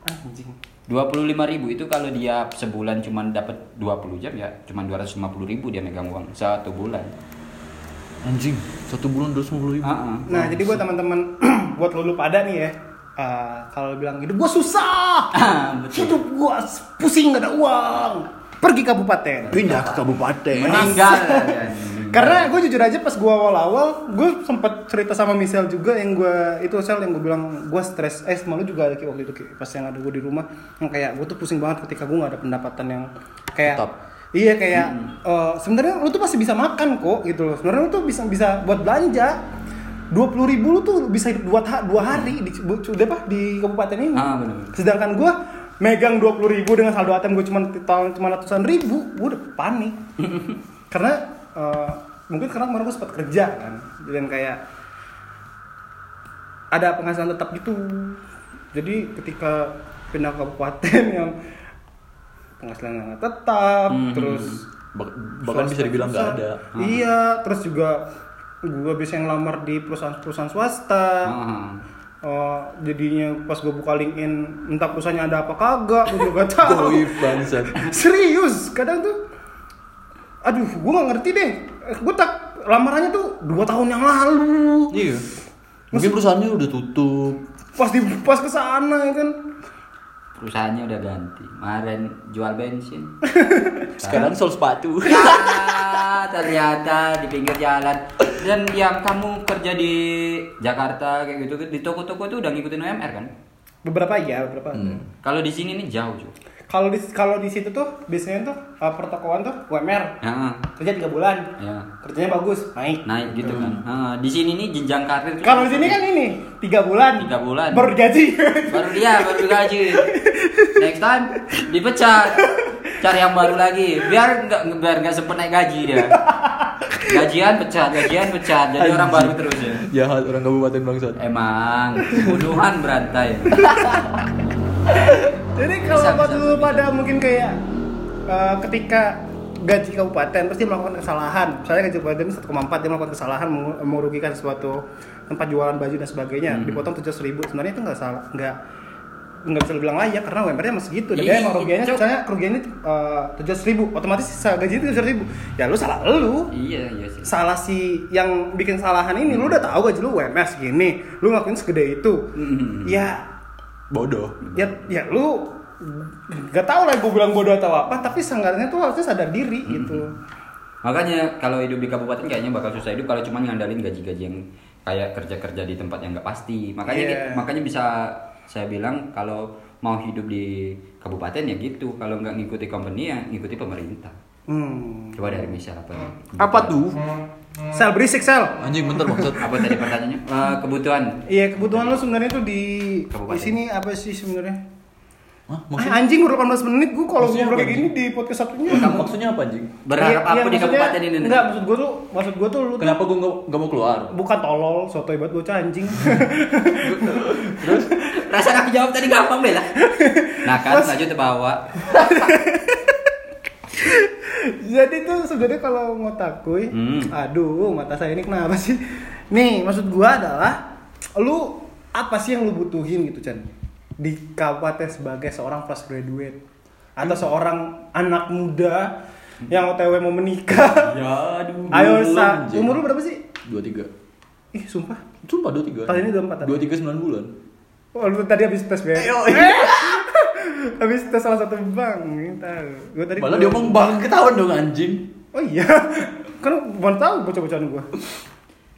[SPEAKER 1] anjing.
[SPEAKER 3] 25.000 itu kalau dia sebulan cuma dapat 20 jam ya cuma 250.000 dia megang uang satu bulan.
[SPEAKER 2] Anjing, satu bulan 250 ribu.
[SPEAKER 3] Ah, ah.
[SPEAKER 1] Nah, jadi buat teman-teman buat lu lu pada nih ya. eh, kalau bilang hidup gua susah.
[SPEAKER 2] Ah,
[SPEAKER 1] hidup gua pusing gak ada uang. Pergi kabupaten.
[SPEAKER 2] Pindah ke
[SPEAKER 1] Nah,
[SPEAKER 2] kabupaten.
[SPEAKER 3] Meninggal. Hmm.
[SPEAKER 1] Karena gue jujur aja pas gue awal-awal, gue sempet cerita sama Michelle juga yang gue itu sel yang gue bilang gue stres. Eh malu juga Ki, waktu itu Ki. pas yang ada gue di rumah yang kayak gue tuh pusing banget ketika gue nggak ada pendapatan yang kayak
[SPEAKER 2] Tetap.
[SPEAKER 1] iya kayak eh, sebenarnya lu tuh pasti bisa makan kok gitu loh. Sebenarnya lu tuh bisa bisa buat belanja. 20.000 ribu lu tuh bisa hidup dua, ta- dua hari di bu- udah apa di kabupaten ini.
[SPEAKER 3] Ah, bener-bener.
[SPEAKER 1] Sedangkan gue megang 20.000 ribu dengan saldo ATM gue cuma cuma ratusan ribu, gue udah panik. karena eh, mungkin karena kemarin gue sempat kerja kan, dan kayak ada penghasilan tetap gitu. Jadi ketika pindah ke kabupaten yang penghasilan yang tetap,
[SPEAKER 3] Mhm.
[SPEAKER 1] terus
[SPEAKER 2] Bah- bahkan bisa dibilang nggak ada. Hmm.
[SPEAKER 1] Iya, terus juga gue bisa yang lamar di perusahaan-perusahaan swasta.
[SPEAKER 2] Hmm.
[SPEAKER 3] Ah.
[SPEAKER 1] Eh, jadinya pas gue buka LinkedIn entah perusahaannya ada apa kagak gue juga gak tahu
[SPEAKER 2] Goib bangsat.
[SPEAKER 1] serius kadang tuh aduh gue gak ngerti deh gue tak lamarannya tuh dua tahun yang lalu
[SPEAKER 2] Iya. Mungkin perusahaannya udah tutup.
[SPEAKER 1] pas di pas kesana ya kan
[SPEAKER 3] Perusahaannya udah ganti. Kemarin jual bensin.
[SPEAKER 2] Sekarang sol sepatu.
[SPEAKER 3] Ah, ternyata di pinggir jalan. Dan yang kamu kerja di Jakarta kayak gitu di toko-toko itu udah ngikutin UMR kan?
[SPEAKER 1] beberapa ya beberapa
[SPEAKER 2] Hmm.
[SPEAKER 3] Kalau di sini nih jauh, Cuk.
[SPEAKER 1] kalau di kalau di situ tuh biasanya tuh eh, pertokoan tuh UMR
[SPEAKER 3] Ah,
[SPEAKER 1] kerja tiga bulan
[SPEAKER 3] ya.
[SPEAKER 1] kerjanya bagus naik
[SPEAKER 3] Naik gitu kan. Ah, di sini nih jenjang karir tuh
[SPEAKER 1] kalau di sini kan ini tiga bulan
[SPEAKER 3] tiga bulan.
[SPEAKER 1] baru gaji
[SPEAKER 3] baru dia baru digaji next time dipecat cari yang baru lagi biar nggak biar nggak sempet naik gaji dia gajian pecat gajian pecat jadi orang baru terus ya
[SPEAKER 2] Jahat orang kabupaten bangsat.
[SPEAKER 3] emang pembunuhan berantai
[SPEAKER 1] Jadi kalau
[SPEAKER 3] Bisa,
[SPEAKER 1] buat
[SPEAKER 3] bisa,
[SPEAKER 1] lu
[SPEAKER 3] bisa.
[SPEAKER 1] pada mungkin kayak eh, ketika gaji kabupaten pasti melakukan kesalahan. Misalnya gaji kabupaten 1,4 dia melakukan kesalahan mengu- merugikan suatu tempat jualan baju dan sebagainya
[SPEAKER 3] Hmm.
[SPEAKER 1] dipotong 700 ribu sebenarnya itu nggak salah nggak nggak bisa dibilang layak karena UMR-nya masih gitu dan
[SPEAKER 3] Ih,
[SPEAKER 1] dia emang rugiannya
[SPEAKER 3] cok.
[SPEAKER 1] misalnya kerugiannya eh, tujuh ribu otomatis sisa gaji tujuh ribu ya lu salah lu
[SPEAKER 3] iya iya sih
[SPEAKER 1] salah si yang bikin salahan ini lu udah tahu gaji lu UMR segini lu ngakuin segede itu
[SPEAKER 3] Mhm.
[SPEAKER 1] ya
[SPEAKER 2] Bodoh.
[SPEAKER 1] ya ya lu gak tau lah gue bilang bodoh atau apa tapi seenggaknya tuh harusnya sadar diri
[SPEAKER 3] Mm-hmm.
[SPEAKER 1] gitu
[SPEAKER 3] makanya kalau hidup di kabupaten kayaknya bakal susah hidup kalau cuma ngandalin gaji-gaji yang kayak kerja-kerja di tempat yang nggak pasti makanya
[SPEAKER 1] Iya.
[SPEAKER 3] di- makanya bisa saya bilang kalau mau hidup di kabupaten ya gitu kalau nggak ngikuti company ya ngikuti pemerintah
[SPEAKER 1] hmm.
[SPEAKER 3] coba dari misal apa ya?
[SPEAKER 2] Apa tuh?
[SPEAKER 1] sel berisik sel
[SPEAKER 2] Anjing bentar bangsat.
[SPEAKER 3] apa tadi pertanyaannya Eh, kebutuhan
[SPEAKER 1] iya kebutuhan lu sebenarnya tuh di
[SPEAKER 3] Kabupaten.
[SPEAKER 1] di sini apa sih sebenarnya
[SPEAKER 2] Hah,
[SPEAKER 1] ah,
[SPEAKER 2] maksud-
[SPEAKER 1] anjing udah 18 menit gue kalau
[SPEAKER 2] Maksudnya
[SPEAKER 1] ngobrol kayak
[SPEAKER 2] apa,
[SPEAKER 1] gini di podcast satunya
[SPEAKER 2] maksudnya apa anjing?
[SPEAKER 3] berharap
[SPEAKER 1] Iya, iya,
[SPEAKER 3] apa di
[SPEAKER 1] maksudnya-
[SPEAKER 3] kabupaten ini
[SPEAKER 1] enggak maksud gue tuh maksud gue tuh lu tuh
[SPEAKER 2] Kenapa gue gak mau keluar?
[SPEAKER 1] bukan tolol soto hebat bocah anjing
[SPEAKER 3] rasanya aku jawab tadi gampang deh lah nah kan lanjut terbawa
[SPEAKER 1] Jadi tuh sebenarnya kalau mau takui,
[SPEAKER 3] Hmm.
[SPEAKER 1] aduh mata saya ini kenapa sih? Nih maksud gua adalah, lu apa sih yang lu butuhin gitu Chan? Di kabupaten sebagai seorang fresh graduate atau seorang anak muda yang otw mau menikah.
[SPEAKER 2] Ya aduh
[SPEAKER 1] Ayo sa, umur lu berapa sih?
[SPEAKER 2] 23
[SPEAKER 1] Ih sumpah,
[SPEAKER 2] Sumpah 23
[SPEAKER 1] Tahun ini 24 tadi.
[SPEAKER 2] 23 9 bulan
[SPEAKER 1] oh, lu tadi habis tes BM. habis tes salah satu bank, ini tahu. Gua tadi
[SPEAKER 2] Malah dia omong bang ketahuan dong anjing
[SPEAKER 1] Oh iya, kan bukan tahu bocah-bocahan gua.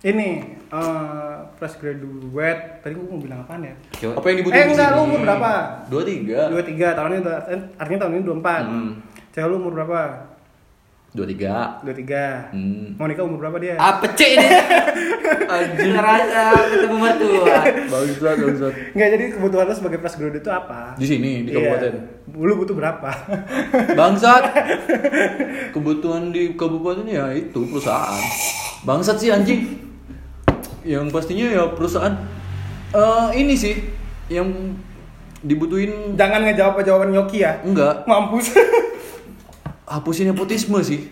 [SPEAKER 1] Ini eh fresh graduate. Tadi gua mau bilang apaan ya?
[SPEAKER 3] Coba-
[SPEAKER 2] Apa yang dibutuhin?
[SPEAKER 1] Eh enggak, lu umur berapa?
[SPEAKER 2] 23
[SPEAKER 1] Dua tiga tahun ini udah, eh, artinya tahun ini dua empat.
[SPEAKER 2] Hmm.
[SPEAKER 1] Cewek lu umur berapa?
[SPEAKER 2] 23
[SPEAKER 1] Dua tiga.
[SPEAKER 2] Hmm.
[SPEAKER 1] Mau nikah umur berapa dia?
[SPEAKER 3] apa cek Ah, ini anjing ngerasa ketemu mertua
[SPEAKER 2] Bangsat bangsat
[SPEAKER 1] Enggak, jadi kebutuhan lu sebagai fresh graduate itu apa?
[SPEAKER 2] Di sini, di kabupaten
[SPEAKER 1] Iya. Lu butuh berapa?
[SPEAKER 2] Bangsat Kebutuhan di kabupaten ya itu perusahaan Bangsat sih anjing Yang pastinya ya perusahaan Eh, Ini sih Yang dibutuhin
[SPEAKER 1] Jangan ngejawab jawaban Yoki ya.
[SPEAKER 2] enggak
[SPEAKER 1] Mampus.
[SPEAKER 2] hapusin nepotisme sih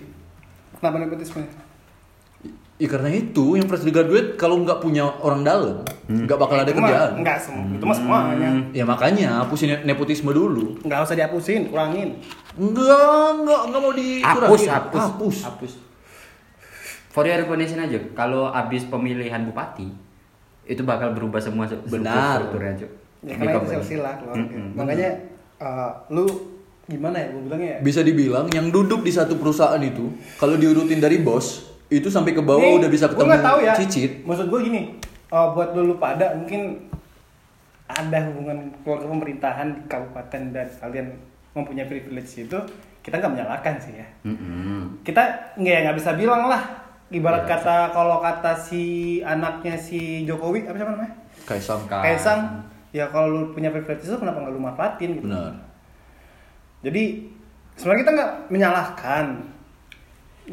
[SPEAKER 1] Kenapa nepotisme?
[SPEAKER 2] Ya karena itu yang fresh graduate kalau nggak punya orang dalam
[SPEAKER 3] Hmm.
[SPEAKER 2] nggak bakal ada
[SPEAKER 1] Itu mah-
[SPEAKER 2] kerjaan.
[SPEAKER 1] Enggak semua. Itu mah semuanya.
[SPEAKER 2] Ya makanya hapusin nepotisme dulu.
[SPEAKER 1] Enggak usah dihapusin, kurangin.
[SPEAKER 2] Enggak, enggak, enggak mau dikurangin.
[SPEAKER 3] Hapus, hapus,
[SPEAKER 2] hapus.
[SPEAKER 3] hapus. For your information aja, kalau abis pemilihan bupati itu bakal berubah semua se-
[SPEAKER 2] Benar.
[SPEAKER 3] strukturnya, Cuk.
[SPEAKER 1] Ya
[SPEAKER 3] Di
[SPEAKER 1] karena itu
[SPEAKER 3] company.
[SPEAKER 1] silsilah keluarga.
[SPEAKER 3] Mm-mm.
[SPEAKER 1] Makanya eh, lu gimana ya gua bilangnya ya?
[SPEAKER 2] Bisa dibilang yang duduk di satu perusahaan itu kalau diurutin dari bos itu sampai ke bawah
[SPEAKER 1] Nih,
[SPEAKER 2] udah bisa
[SPEAKER 1] gua
[SPEAKER 2] ketemu
[SPEAKER 1] nggak tahu ya.
[SPEAKER 2] cicit.
[SPEAKER 1] Maksud gue gini, eh, buat lu pada mungkin ada hubungan keluarga pemerintahan di kabupaten dan kalian mempunyai privilege itu, kita nggak menyalahkan sih ya.
[SPEAKER 3] Mm-mm.
[SPEAKER 1] Kita nggak ya, nggak bisa bilang lah. Ibarat
[SPEAKER 2] Iya,
[SPEAKER 1] kata kalau kata si anaknya si Jokowi apa siapa namanya?
[SPEAKER 2] Kaisang.
[SPEAKER 3] Ka-
[SPEAKER 2] kan.
[SPEAKER 1] Kaisang. Ya kalau lu punya privilege itu kenapa nggak lu manfaatin gitu?
[SPEAKER 2] Benar.
[SPEAKER 1] Jadi sebenarnya kita nggak menyalahkan,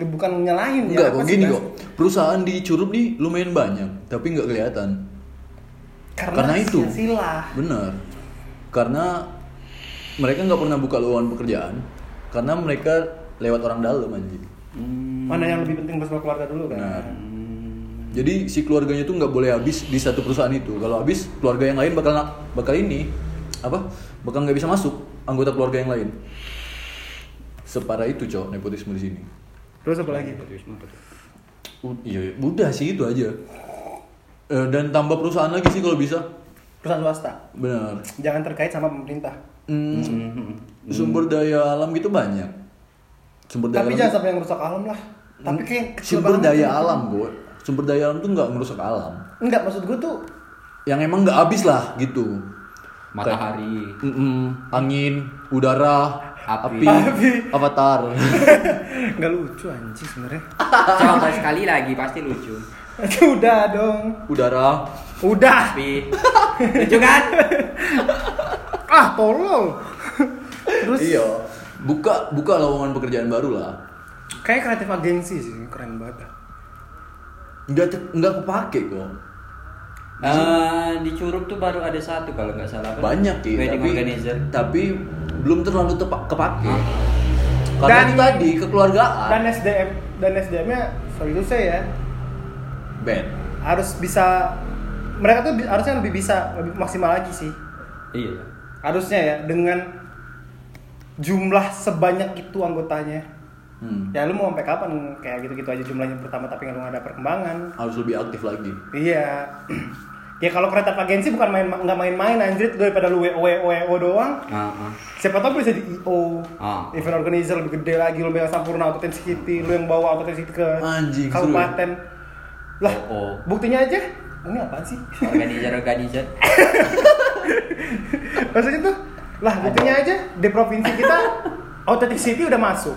[SPEAKER 1] bukan menyalahin. ya,
[SPEAKER 2] Enggak
[SPEAKER 1] apa
[SPEAKER 2] kok
[SPEAKER 1] sih,
[SPEAKER 2] gini
[SPEAKER 1] Bas?
[SPEAKER 2] kok. Perusahaan di Curup nih lumayan banyak, tapi nggak kelihatan.
[SPEAKER 1] Karena,
[SPEAKER 2] Karena itu.
[SPEAKER 1] silsilah.
[SPEAKER 2] Bener. Karena mereka nggak pernah buka lowongan pekerjaan karena mereka lewat orang dalam anjing.
[SPEAKER 1] Mana yang lebih penting bersama keluarga dulu kan?
[SPEAKER 2] Hmm. Benar. Jadi si keluarganya tuh nggak boleh habis di satu perusahaan itu. Kalau habis keluarga yang lain bakal na- bakal ini apa? Bakal nggak bisa masuk anggota keluarga yang lain. Separah itu cowok nepotisme di sini.
[SPEAKER 1] Terus apa lagi?
[SPEAKER 2] U- Iya, udah sih itu aja. Eh, dan tambah perusahaan lagi sih kalau bisa.
[SPEAKER 1] Perusahaan swasta.
[SPEAKER 2] Benar.
[SPEAKER 1] Jangan terkait sama pemerintah.
[SPEAKER 2] Hmm,
[SPEAKER 3] Mm-mm.
[SPEAKER 2] sumber daya alam gitu banyak. Sumber daya
[SPEAKER 1] Tapi
[SPEAKER 2] alam
[SPEAKER 1] jangan sampai yang merusak alam lah. Tapi kayak kecil
[SPEAKER 2] sumber
[SPEAKER 1] banget
[SPEAKER 2] Hmm. daya
[SPEAKER 1] kan.
[SPEAKER 2] alam gue sumber daya alam tuh nggak merusak alam
[SPEAKER 1] Enggak maksud gue tuh
[SPEAKER 2] yang emang nggak habis lah gitu
[SPEAKER 3] Matahari.
[SPEAKER 2] Mm-mm, angin udara
[SPEAKER 3] Api.
[SPEAKER 2] api, avatar
[SPEAKER 1] enggak lucu anjing sebenarnya.
[SPEAKER 3] Coba sekali lagi pasti lucu.
[SPEAKER 1] Udah dong.
[SPEAKER 2] udara
[SPEAKER 1] Udah.
[SPEAKER 3] Tapi lucu kan?
[SPEAKER 1] Ah, tolol. Terus
[SPEAKER 2] iya buka buka lowongan pekerjaan baru lah
[SPEAKER 1] kayak kreatif agensi sih keren banget.
[SPEAKER 2] nggak te- nggak kepake kok
[SPEAKER 3] Eh, di Curup tuh baru ada satu kalau nggak salah. Apa?
[SPEAKER 2] banyak sih
[SPEAKER 3] Wedding
[SPEAKER 2] tapi
[SPEAKER 3] organizer. Ah.
[SPEAKER 2] tapi belum terlalu tepa- kepake
[SPEAKER 3] Hah?
[SPEAKER 2] karena
[SPEAKER 1] Dan-
[SPEAKER 2] itu tadi kekeluargaan
[SPEAKER 1] Dan SDM dan SDM-nya sorry itu saya ya
[SPEAKER 2] bad
[SPEAKER 1] harus bisa mereka tuh bi- harusnya lebih bisa lebih maksimal lagi sih.
[SPEAKER 3] Iya.
[SPEAKER 1] harusnya ya dengan jumlah sebanyak itu anggotanya
[SPEAKER 2] Hmm,
[SPEAKER 1] ya lu mau sampai kapan kayak gitu-gitu aja jumlahnya pertama tapi nggak lu nggak ada perkembangan
[SPEAKER 2] harus lebih aktif lagi
[SPEAKER 1] iya ya kalau kereta agensi bukan main nggak main-main anjir daripada lu wo wo wo doang
[SPEAKER 3] Ah, ah.
[SPEAKER 1] siapa tahu bisa di io
[SPEAKER 3] Ah.
[SPEAKER 1] event organizer lebih gede lagi lu yang sampurna authenticity lu yang bawa authenticity ke
[SPEAKER 2] Anjing, seru ya?
[SPEAKER 1] kabupaten lah
[SPEAKER 3] Oh, oh.
[SPEAKER 1] buktinya aja ini apaan sih
[SPEAKER 3] Organizer organizer.
[SPEAKER 1] Maksudnya tuh, lah buktinya aja di provinsi kita authenticity udah masuk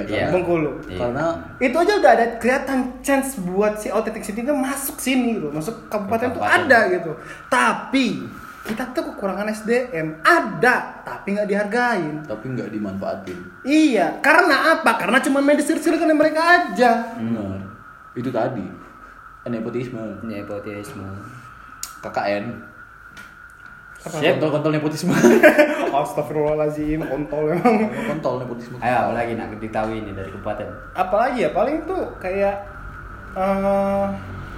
[SPEAKER 3] Iya.
[SPEAKER 2] karena,
[SPEAKER 1] Bengkulu.
[SPEAKER 3] Iya.
[SPEAKER 2] karena
[SPEAKER 1] Itu aja udah ada kelihatan chance buat si authenticity itu masuk sini loh, masuk kabupaten tuh
[SPEAKER 3] Kabupaten.
[SPEAKER 1] ada gitu. Tapi kita tuh kekurangan SDM ada, tapi nggak dihargain.
[SPEAKER 2] tapi nggak dimanfaatin
[SPEAKER 1] Iya, karena apa? Karena cuma main disirkan mereka aja.
[SPEAKER 3] Hmm.
[SPEAKER 2] Benar. Itu tadi. Nepotisme.
[SPEAKER 3] Nepotisme.
[SPEAKER 2] KKN.
[SPEAKER 3] Siap.
[SPEAKER 2] Kontol-kontol nepotisme.
[SPEAKER 1] Astagfirullahaladzim, kontol emang.
[SPEAKER 2] kontol nepotisme.
[SPEAKER 3] Ayo apa lagi nak diketahui ini dari kabupaten.
[SPEAKER 1] Apalagi ya, paling tuh kayak eh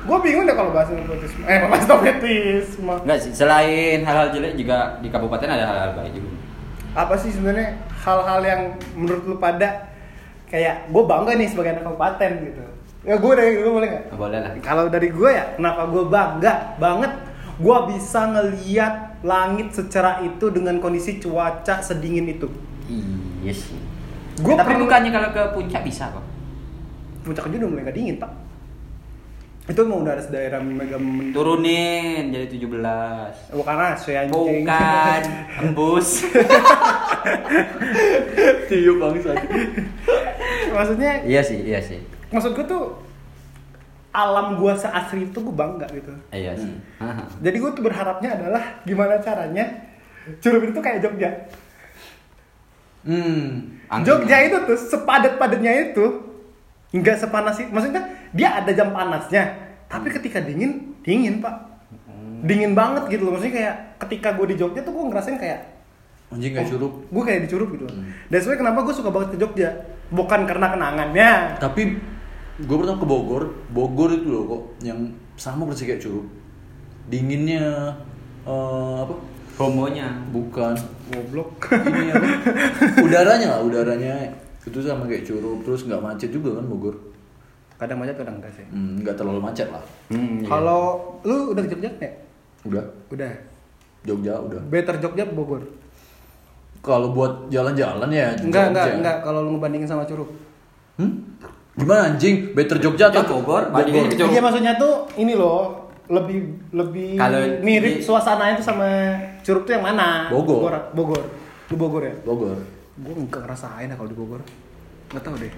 [SPEAKER 1] gue bingung deh kalau bahas nepotisme. Eh, bahas nepotisme.
[SPEAKER 3] Enggak sih, selain hal-hal jelek juga di kabupaten ada hal-hal baik juga.
[SPEAKER 1] apa sih sebenarnya hal-hal yang menurut lu pada kayak gue bangga nih sebagai anak kabupaten gitu ya gue dari gue boleh nggak
[SPEAKER 3] Nah, Boleh lah.
[SPEAKER 1] kalau dari gue ya kenapa gue bangga banget gue bisa ngeliat langit secara itu dengan kondisi cuaca sedingin itu
[SPEAKER 3] Iya sih.
[SPEAKER 1] gue
[SPEAKER 3] Tapi bukannya kalau ke puncak bisa kok.
[SPEAKER 1] puncak aja udah mulai nggak dingin pak itu mau udah ada daerah mega mendur
[SPEAKER 3] Turunin jadi 17.
[SPEAKER 1] bukan asu ya anjing.
[SPEAKER 3] Bukan embus.
[SPEAKER 2] Tiup bangsa.
[SPEAKER 1] maksudnya
[SPEAKER 3] iya sih, iya sih.
[SPEAKER 1] maksud gue tuh alam gue seasri itu gue bangga gitu
[SPEAKER 3] Iya sih. Haha.
[SPEAKER 1] Jadi gue tuh berharapnya adalah gimana caranya Curug itu kayak Jogja.
[SPEAKER 2] Hmm.
[SPEAKER 3] Angin.
[SPEAKER 1] Jogja itu tuh sepadat-padatnya itu nggak sepanas itu. Maksudnya dia ada jam panasnya, tapi ketika dingin dingin pak. dingin banget gitu loh maksudnya kayak ketika gue di Jogja tuh gue ngerasain kayak
[SPEAKER 2] anjing gak curup
[SPEAKER 1] gue kayak dicurup gitu
[SPEAKER 3] Hmm.
[SPEAKER 1] loh. Dan sebenarnya kenapa gue suka banget ke Jogja? Bukan karena kenangannya.
[SPEAKER 2] tapi gue pernah ke Bogor Bogor itu loh kok yang sama persis kayak curup dinginnya eh, apa
[SPEAKER 3] homonya
[SPEAKER 2] bukan
[SPEAKER 1] Goblok.
[SPEAKER 2] ini apa udaranya lah udaranya itu sama kayak curup terus nggak macet juga kan Bogor
[SPEAKER 1] Kadang macet kadang enggak sih.
[SPEAKER 2] Hmm, nggak terlalu macet lah
[SPEAKER 3] hmm, iya.
[SPEAKER 1] Kalau lu udah ke Jogja ya?
[SPEAKER 2] udah
[SPEAKER 1] Udah.
[SPEAKER 2] Jogja udah
[SPEAKER 1] Better Jogja apa Bogor.
[SPEAKER 2] kalau buat jalan-jalan ya
[SPEAKER 1] Enggak, enggak,
[SPEAKER 2] Jogja.
[SPEAKER 1] enggak kalau lu ngebandingin sama Curug.
[SPEAKER 2] Hmm? Gimana anjing? Better Jogja atau
[SPEAKER 3] Ya, Bogor, bandingin ke Curug.
[SPEAKER 1] Iya maksudnya tuh ini loh lebih lebih
[SPEAKER 3] Kalau
[SPEAKER 1] mirip
[SPEAKER 3] di-
[SPEAKER 1] suasananya tuh sama Curug tuh yang mana?
[SPEAKER 2] Bogor.
[SPEAKER 1] Bogor. Bogor. Lu Bogor ya?
[SPEAKER 2] Bogor.
[SPEAKER 1] Gue enggak ngerasain ya kalau di Bogor. Enggak tahu deh.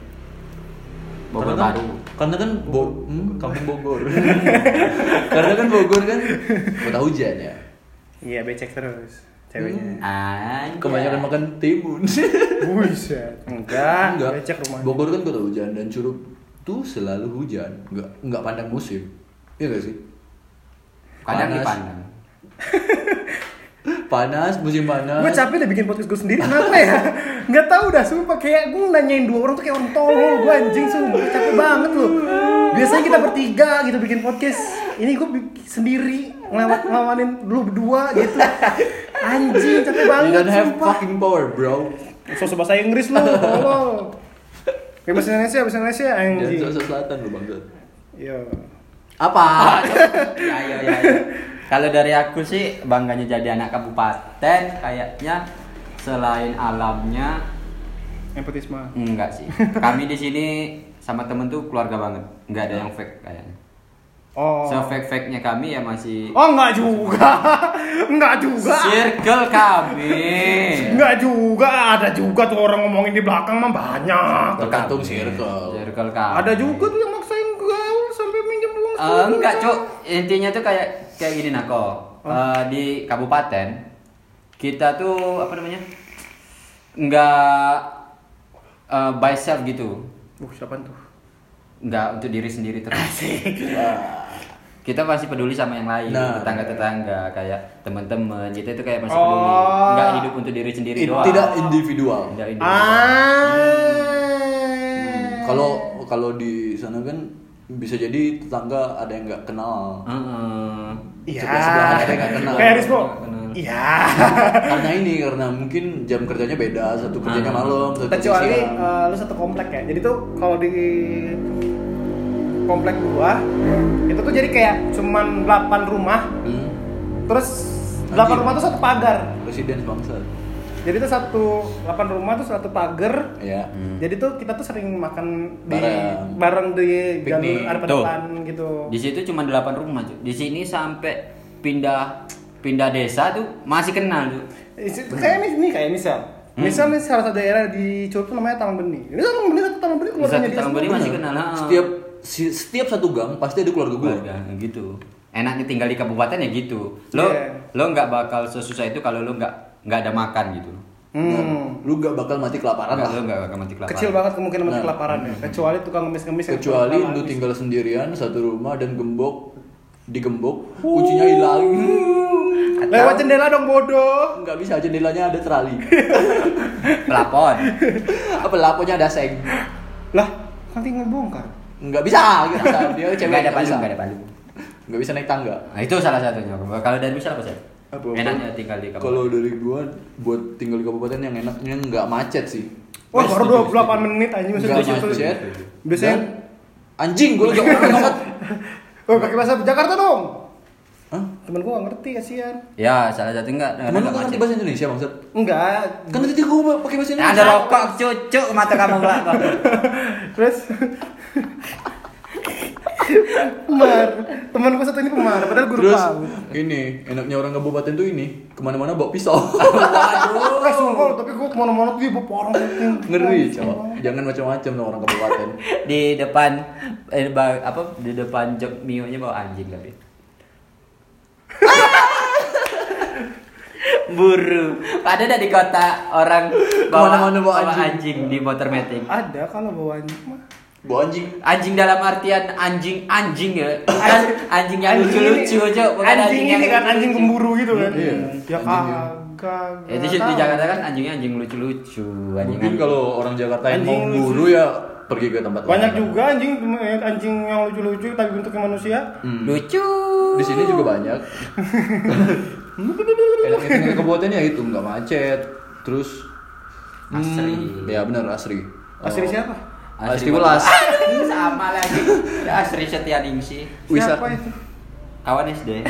[SPEAKER 3] Bogor
[SPEAKER 2] Karena kan-
[SPEAKER 3] baru
[SPEAKER 2] Karena kan Bo hmm, kampung Bogor. karena kan Bogor kan kota hujan ya.
[SPEAKER 1] Iya, becek terus ceweknya.
[SPEAKER 3] Anjay.
[SPEAKER 1] Iya.
[SPEAKER 2] Kebanyakan makan timun.
[SPEAKER 1] Hmm. Buset. Enggak,
[SPEAKER 2] Enggak.
[SPEAKER 1] Ah, becek rumahnya.
[SPEAKER 2] Bogor kan kota hujan dan Curug tuh selalu hujan. Enggak enggak pandang musim. Iya gak sih?
[SPEAKER 3] kadang
[SPEAKER 2] Panas.
[SPEAKER 3] dipandang
[SPEAKER 2] Panas, musim panas.
[SPEAKER 1] Gue capek deh bikin podcast gue sendiri, kenapa ya? Nggak tahu dah, sumpah kayak gue nanyain dua orang tuh kayak orang tolol Gue anjing, sumpah capek banget loh Biasanya kita bertiga gitu bikin podcast Ini gue bi- sendiri, ngelewat ngelawanin lu berdua gitu Anjing, capek
[SPEAKER 2] You
[SPEAKER 1] banget
[SPEAKER 2] don't have
[SPEAKER 1] sumpah
[SPEAKER 2] fucking power, bro.
[SPEAKER 1] Sosok bahasa Inggris lu, tolol Ya bahasa Indonesia, bahasa Indonesia,
[SPEAKER 2] Dan
[SPEAKER 1] anjing Iya.
[SPEAKER 2] Sulawesi Selatan lu bangga.
[SPEAKER 1] Yo.
[SPEAKER 3] apa ya ya ya, ya. kalau dari aku sih bangganya jadi anak kabupaten kayaknya selain alamnya
[SPEAKER 1] Nepotisme
[SPEAKER 3] enggak sih kami di sini sama temen tuh keluarga banget nggak ada yang fake kayaknya
[SPEAKER 1] Oh
[SPEAKER 3] so fake fake nya kami ya masih
[SPEAKER 1] Oh enggak juga Enggak juga
[SPEAKER 3] circle kami
[SPEAKER 1] Enggak juga, ada juga tuh orang ngomongin di belakang mah banyak.
[SPEAKER 2] Tergantung
[SPEAKER 3] Kami.
[SPEAKER 2] circle.
[SPEAKER 3] circle kami
[SPEAKER 1] Ada juga tuh yang maksain gaul sampai minjem uang
[SPEAKER 3] Eh,
[SPEAKER 1] sekolah.
[SPEAKER 3] enggak cuk intinya tuh kayak kayak gini nako
[SPEAKER 2] Oh.
[SPEAKER 3] Eh, di kabupaten kita tuh apa namanya enggak eh, by self gitu
[SPEAKER 1] Uh, siapa tuh?
[SPEAKER 3] enggak untuk diri sendiri terus kita masih peduli sama yang lain
[SPEAKER 2] Nah.
[SPEAKER 3] tetangga-tetangga kayak teman-teman kita itu kayak masih
[SPEAKER 1] Oh.
[SPEAKER 3] peduli enggak hidup untuk diri sendiri
[SPEAKER 2] It-
[SPEAKER 3] doang
[SPEAKER 2] tidak Ah. individual.
[SPEAKER 3] Enggak hidup.
[SPEAKER 1] Ah.
[SPEAKER 2] Hmm. Kalau kalau di sana kan bisa jadi tetangga ada yang nggak kenal.
[SPEAKER 3] Heeh.
[SPEAKER 1] Iya.
[SPEAKER 2] sebelah-sebelahan ada yang nggak kenal.
[SPEAKER 1] Kayak Rispo.
[SPEAKER 3] Kenal.
[SPEAKER 1] Iya.
[SPEAKER 2] Karena ini karena mungkin jam kerjanya beda, satu kerjanya
[SPEAKER 3] Ah.
[SPEAKER 2] malam, satu kerja
[SPEAKER 1] Kecuali
[SPEAKER 2] siang.
[SPEAKER 1] eh, lu satu komplek ya. Jadi tuh kalau di komplek gua itu tuh jadi kayak cuman 8 rumah
[SPEAKER 2] Hmm.
[SPEAKER 1] terus 8
[SPEAKER 2] Anjing.
[SPEAKER 1] rumah tuh satu pagar.
[SPEAKER 2] Presiden bangsa.
[SPEAKER 1] Jadi tuh satu 8 rumah tuh satu pagar
[SPEAKER 2] Ya.
[SPEAKER 1] Jadi tuh kita tuh sering makan di
[SPEAKER 2] Bareng.
[SPEAKER 1] bareng di jalur
[SPEAKER 2] Piknik.
[SPEAKER 1] ada
[SPEAKER 3] Tuh.
[SPEAKER 1] depan gitu.
[SPEAKER 3] di situ cuma 8 rumah Cuk. di sini sampai pindah pindah desa tuh masih kenal tuh
[SPEAKER 1] Is- Kayak mis- nih kayak misal. Misal nih salah satu daerah di Curug tuh namanya Taman Benih. Ini Taman Benih satu Taman Benih keluarganya
[SPEAKER 3] Satu
[SPEAKER 1] dia
[SPEAKER 3] Taman
[SPEAKER 1] semua.
[SPEAKER 3] Benih masih kenal
[SPEAKER 1] ah.
[SPEAKER 3] ha.
[SPEAKER 2] Setiap si- setiap satu gang pasti ada keluarga gue.
[SPEAKER 3] keluarga gitu enaknya tinggal di kabupaten ya gitu lo
[SPEAKER 1] Iya.
[SPEAKER 3] lo nggak bakal sesusah itu kalau lo nggak nggak ada makan gitu
[SPEAKER 1] Hmm.
[SPEAKER 2] Lu gak bakal mati kelaparan
[SPEAKER 3] Nggak,
[SPEAKER 2] lah.
[SPEAKER 3] lo nggak bakal mati kelaparan
[SPEAKER 1] Kecil banget kemungkinan mati
[SPEAKER 2] Nah.
[SPEAKER 1] kelaparan ya. Kecuali tukang ngemis-ngemis yang
[SPEAKER 2] Kecuali
[SPEAKER 1] tukang
[SPEAKER 2] lu
[SPEAKER 1] habis.
[SPEAKER 2] tinggal sendirian satu rumah dan gembok digembok, kuncinya hilang.
[SPEAKER 1] Lewat jendela dong bodoh.
[SPEAKER 2] Nggak bisa jendelanya ada terali.
[SPEAKER 3] pelapon
[SPEAKER 2] Apa laponya ada seng.
[SPEAKER 1] Lah, kan nanti ngebongkar.
[SPEAKER 2] Nggak bisa, nggak bisa. Dia cewek
[SPEAKER 3] nggak ada
[SPEAKER 2] nggak
[SPEAKER 3] palu
[SPEAKER 2] bisa.
[SPEAKER 3] nggak ada palu
[SPEAKER 2] Nggak bisa naik tangga.
[SPEAKER 3] nah, itu salah satunya kalau dari misal apa sih
[SPEAKER 2] Apa?
[SPEAKER 3] enaknya tinggal di kabupaten
[SPEAKER 2] Kalau dari gua buat tinggal di kabupaten yang enaknya nggak macet sih.
[SPEAKER 1] Wah,
[SPEAKER 3] Wes,
[SPEAKER 1] baru
[SPEAKER 3] setuju,
[SPEAKER 1] 28 menit anjing
[SPEAKER 2] Nggak
[SPEAKER 1] maksudnya.
[SPEAKER 2] macet.
[SPEAKER 1] Biasanya
[SPEAKER 2] Dan- anjing gua lagi ngomong banget.
[SPEAKER 1] Oh, pakai bahasa Jakarta dong.
[SPEAKER 2] Hah?
[SPEAKER 1] Temen gua gak ngerti kasihan.
[SPEAKER 3] ya salah satu nggak
[SPEAKER 2] Temen lu
[SPEAKER 3] nggak
[SPEAKER 2] kan ngerti
[SPEAKER 3] macet.
[SPEAKER 2] bahasa Indonesia maksud?
[SPEAKER 1] Enggak.
[SPEAKER 2] Kan tadi gua pakai bahasa
[SPEAKER 3] Eh,
[SPEAKER 2] Indonesia.
[SPEAKER 3] ada rokok cucu mata kamu belakang
[SPEAKER 1] Terus Pemar Temen gue satu ini pemar Padahal guru
[SPEAKER 2] Terus
[SPEAKER 1] PAUD
[SPEAKER 2] ini enaknya orang kabupaten tuh ini kemana-mana bawa pisau.
[SPEAKER 1] Eh sumpah lu, tapi gue kemana-mana tuh ibu porong
[SPEAKER 2] Ngeri cowok. Jangan macam-macam sama orang kabupaten.
[SPEAKER 3] di depan eh, ba- apa di depan jok mio nya bawa anjing tapi buru padahal dari kota orang bawa,
[SPEAKER 2] Kemana-mana bawa
[SPEAKER 3] bawa
[SPEAKER 2] anjing.
[SPEAKER 3] anjing. di motor meeting
[SPEAKER 1] Ada kalau bawa anjing mah
[SPEAKER 2] Bu anjing.
[SPEAKER 3] Anjing dalam artian anjing anjing ya. Kan anjing yang lucu-lucu aja. bukan
[SPEAKER 1] anjing ini
[SPEAKER 3] yang
[SPEAKER 1] kan anjing
[SPEAKER 3] lucu-lucu.
[SPEAKER 1] pemburu gitu kan
[SPEAKER 2] Iya.
[SPEAKER 1] ya
[SPEAKER 2] Anjing yang-
[SPEAKER 1] kagak
[SPEAKER 3] Ya, Itu sih di
[SPEAKER 1] tahu.
[SPEAKER 3] Jakarta kan anjingnya anjing lucu-lucu, anjing.
[SPEAKER 2] Mungkin kalau orang Jakarta yang mau
[SPEAKER 1] Anjing.
[SPEAKER 2] buru ya pergi ke tempat
[SPEAKER 1] banyak
[SPEAKER 2] lain.
[SPEAKER 1] juga anjing eh, anjing yang lucu-lucu tapi bentuknya manusia
[SPEAKER 2] Hmm.
[SPEAKER 3] Lucu.
[SPEAKER 2] Di sini juga banyak.
[SPEAKER 3] Oh.
[SPEAKER 2] Enaknya tinggal di kabupaten ya itu nggak macet. Terus
[SPEAKER 3] Asri.
[SPEAKER 2] Hmm, ya benar asri.
[SPEAKER 1] asli
[SPEAKER 2] Oh.
[SPEAKER 1] siapa
[SPEAKER 2] Asri Welas.
[SPEAKER 3] Aduh, sama lagi. Ya, Asri Setianingsih.
[SPEAKER 1] siapa
[SPEAKER 2] Wisata
[SPEAKER 1] itu
[SPEAKER 3] Kawan SD.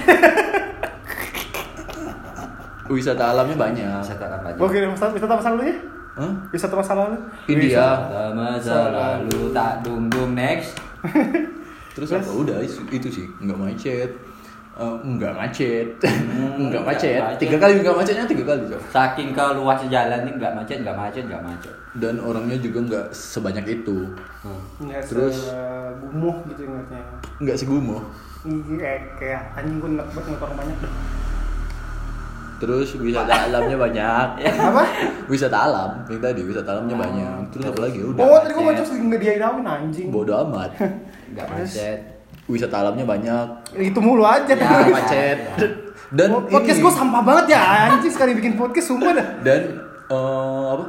[SPEAKER 2] wisata alamnya banyak.
[SPEAKER 3] Wisata apa aja?
[SPEAKER 1] Oke, wisata wisata masa lalunya?
[SPEAKER 2] Hah?
[SPEAKER 1] Wisata masa lalu?
[SPEAKER 2] India.
[SPEAKER 3] Lama selalu tak dum dum next.
[SPEAKER 2] Terus apa? Udah itu, itu sih, nggak macet. Eh, nggak macet. nggak macet.
[SPEAKER 3] macet.
[SPEAKER 2] Tiga kali nggak macetnya tiga kali, Cok.
[SPEAKER 3] Saking keluas jalan nih nggak macet, nggak macet, nggak macet.
[SPEAKER 2] Dan orangnya juga nggak sebanyak itu.
[SPEAKER 3] Hmm.
[SPEAKER 1] Nggak
[SPEAKER 2] Terus?
[SPEAKER 1] se- gumuh gitu ingatnya.
[SPEAKER 2] Nggak segumo. Iya,
[SPEAKER 1] Kayak kayak anjing gue enak banget motor banyak.
[SPEAKER 2] Terus wisata alamnya
[SPEAKER 3] Ya.
[SPEAKER 2] banyak.
[SPEAKER 1] Apa?
[SPEAKER 2] wisata alam, yang tadi wisata alamnya
[SPEAKER 3] Ah.
[SPEAKER 2] banyak. Terus apa lagi? Udah.
[SPEAKER 1] Oh, tadi gue
[SPEAKER 3] macet.
[SPEAKER 1] baca ngediain daun anjing.
[SPEAKER 2] Bodoh amat.
[SPEAKER 3] Nggak macet.
[SPEAKER 2] Wisata alamnya banyak.
[SPEAKER 1] Itu mulu aja.
[SPEAKER 3] Ya,
[SPEAKER 2] Nggak macet.
[SPEAKER 3] ya.
[SPEAKER 2] Dan
[SPEAKER 1] Pod- podcast
[SPEAKER 2] ini-
[SPEAKER 1] gue sampah banget ya anjing sekali bikin podcast sumpah dah.
[SPEAKER 2] dan eh, apa?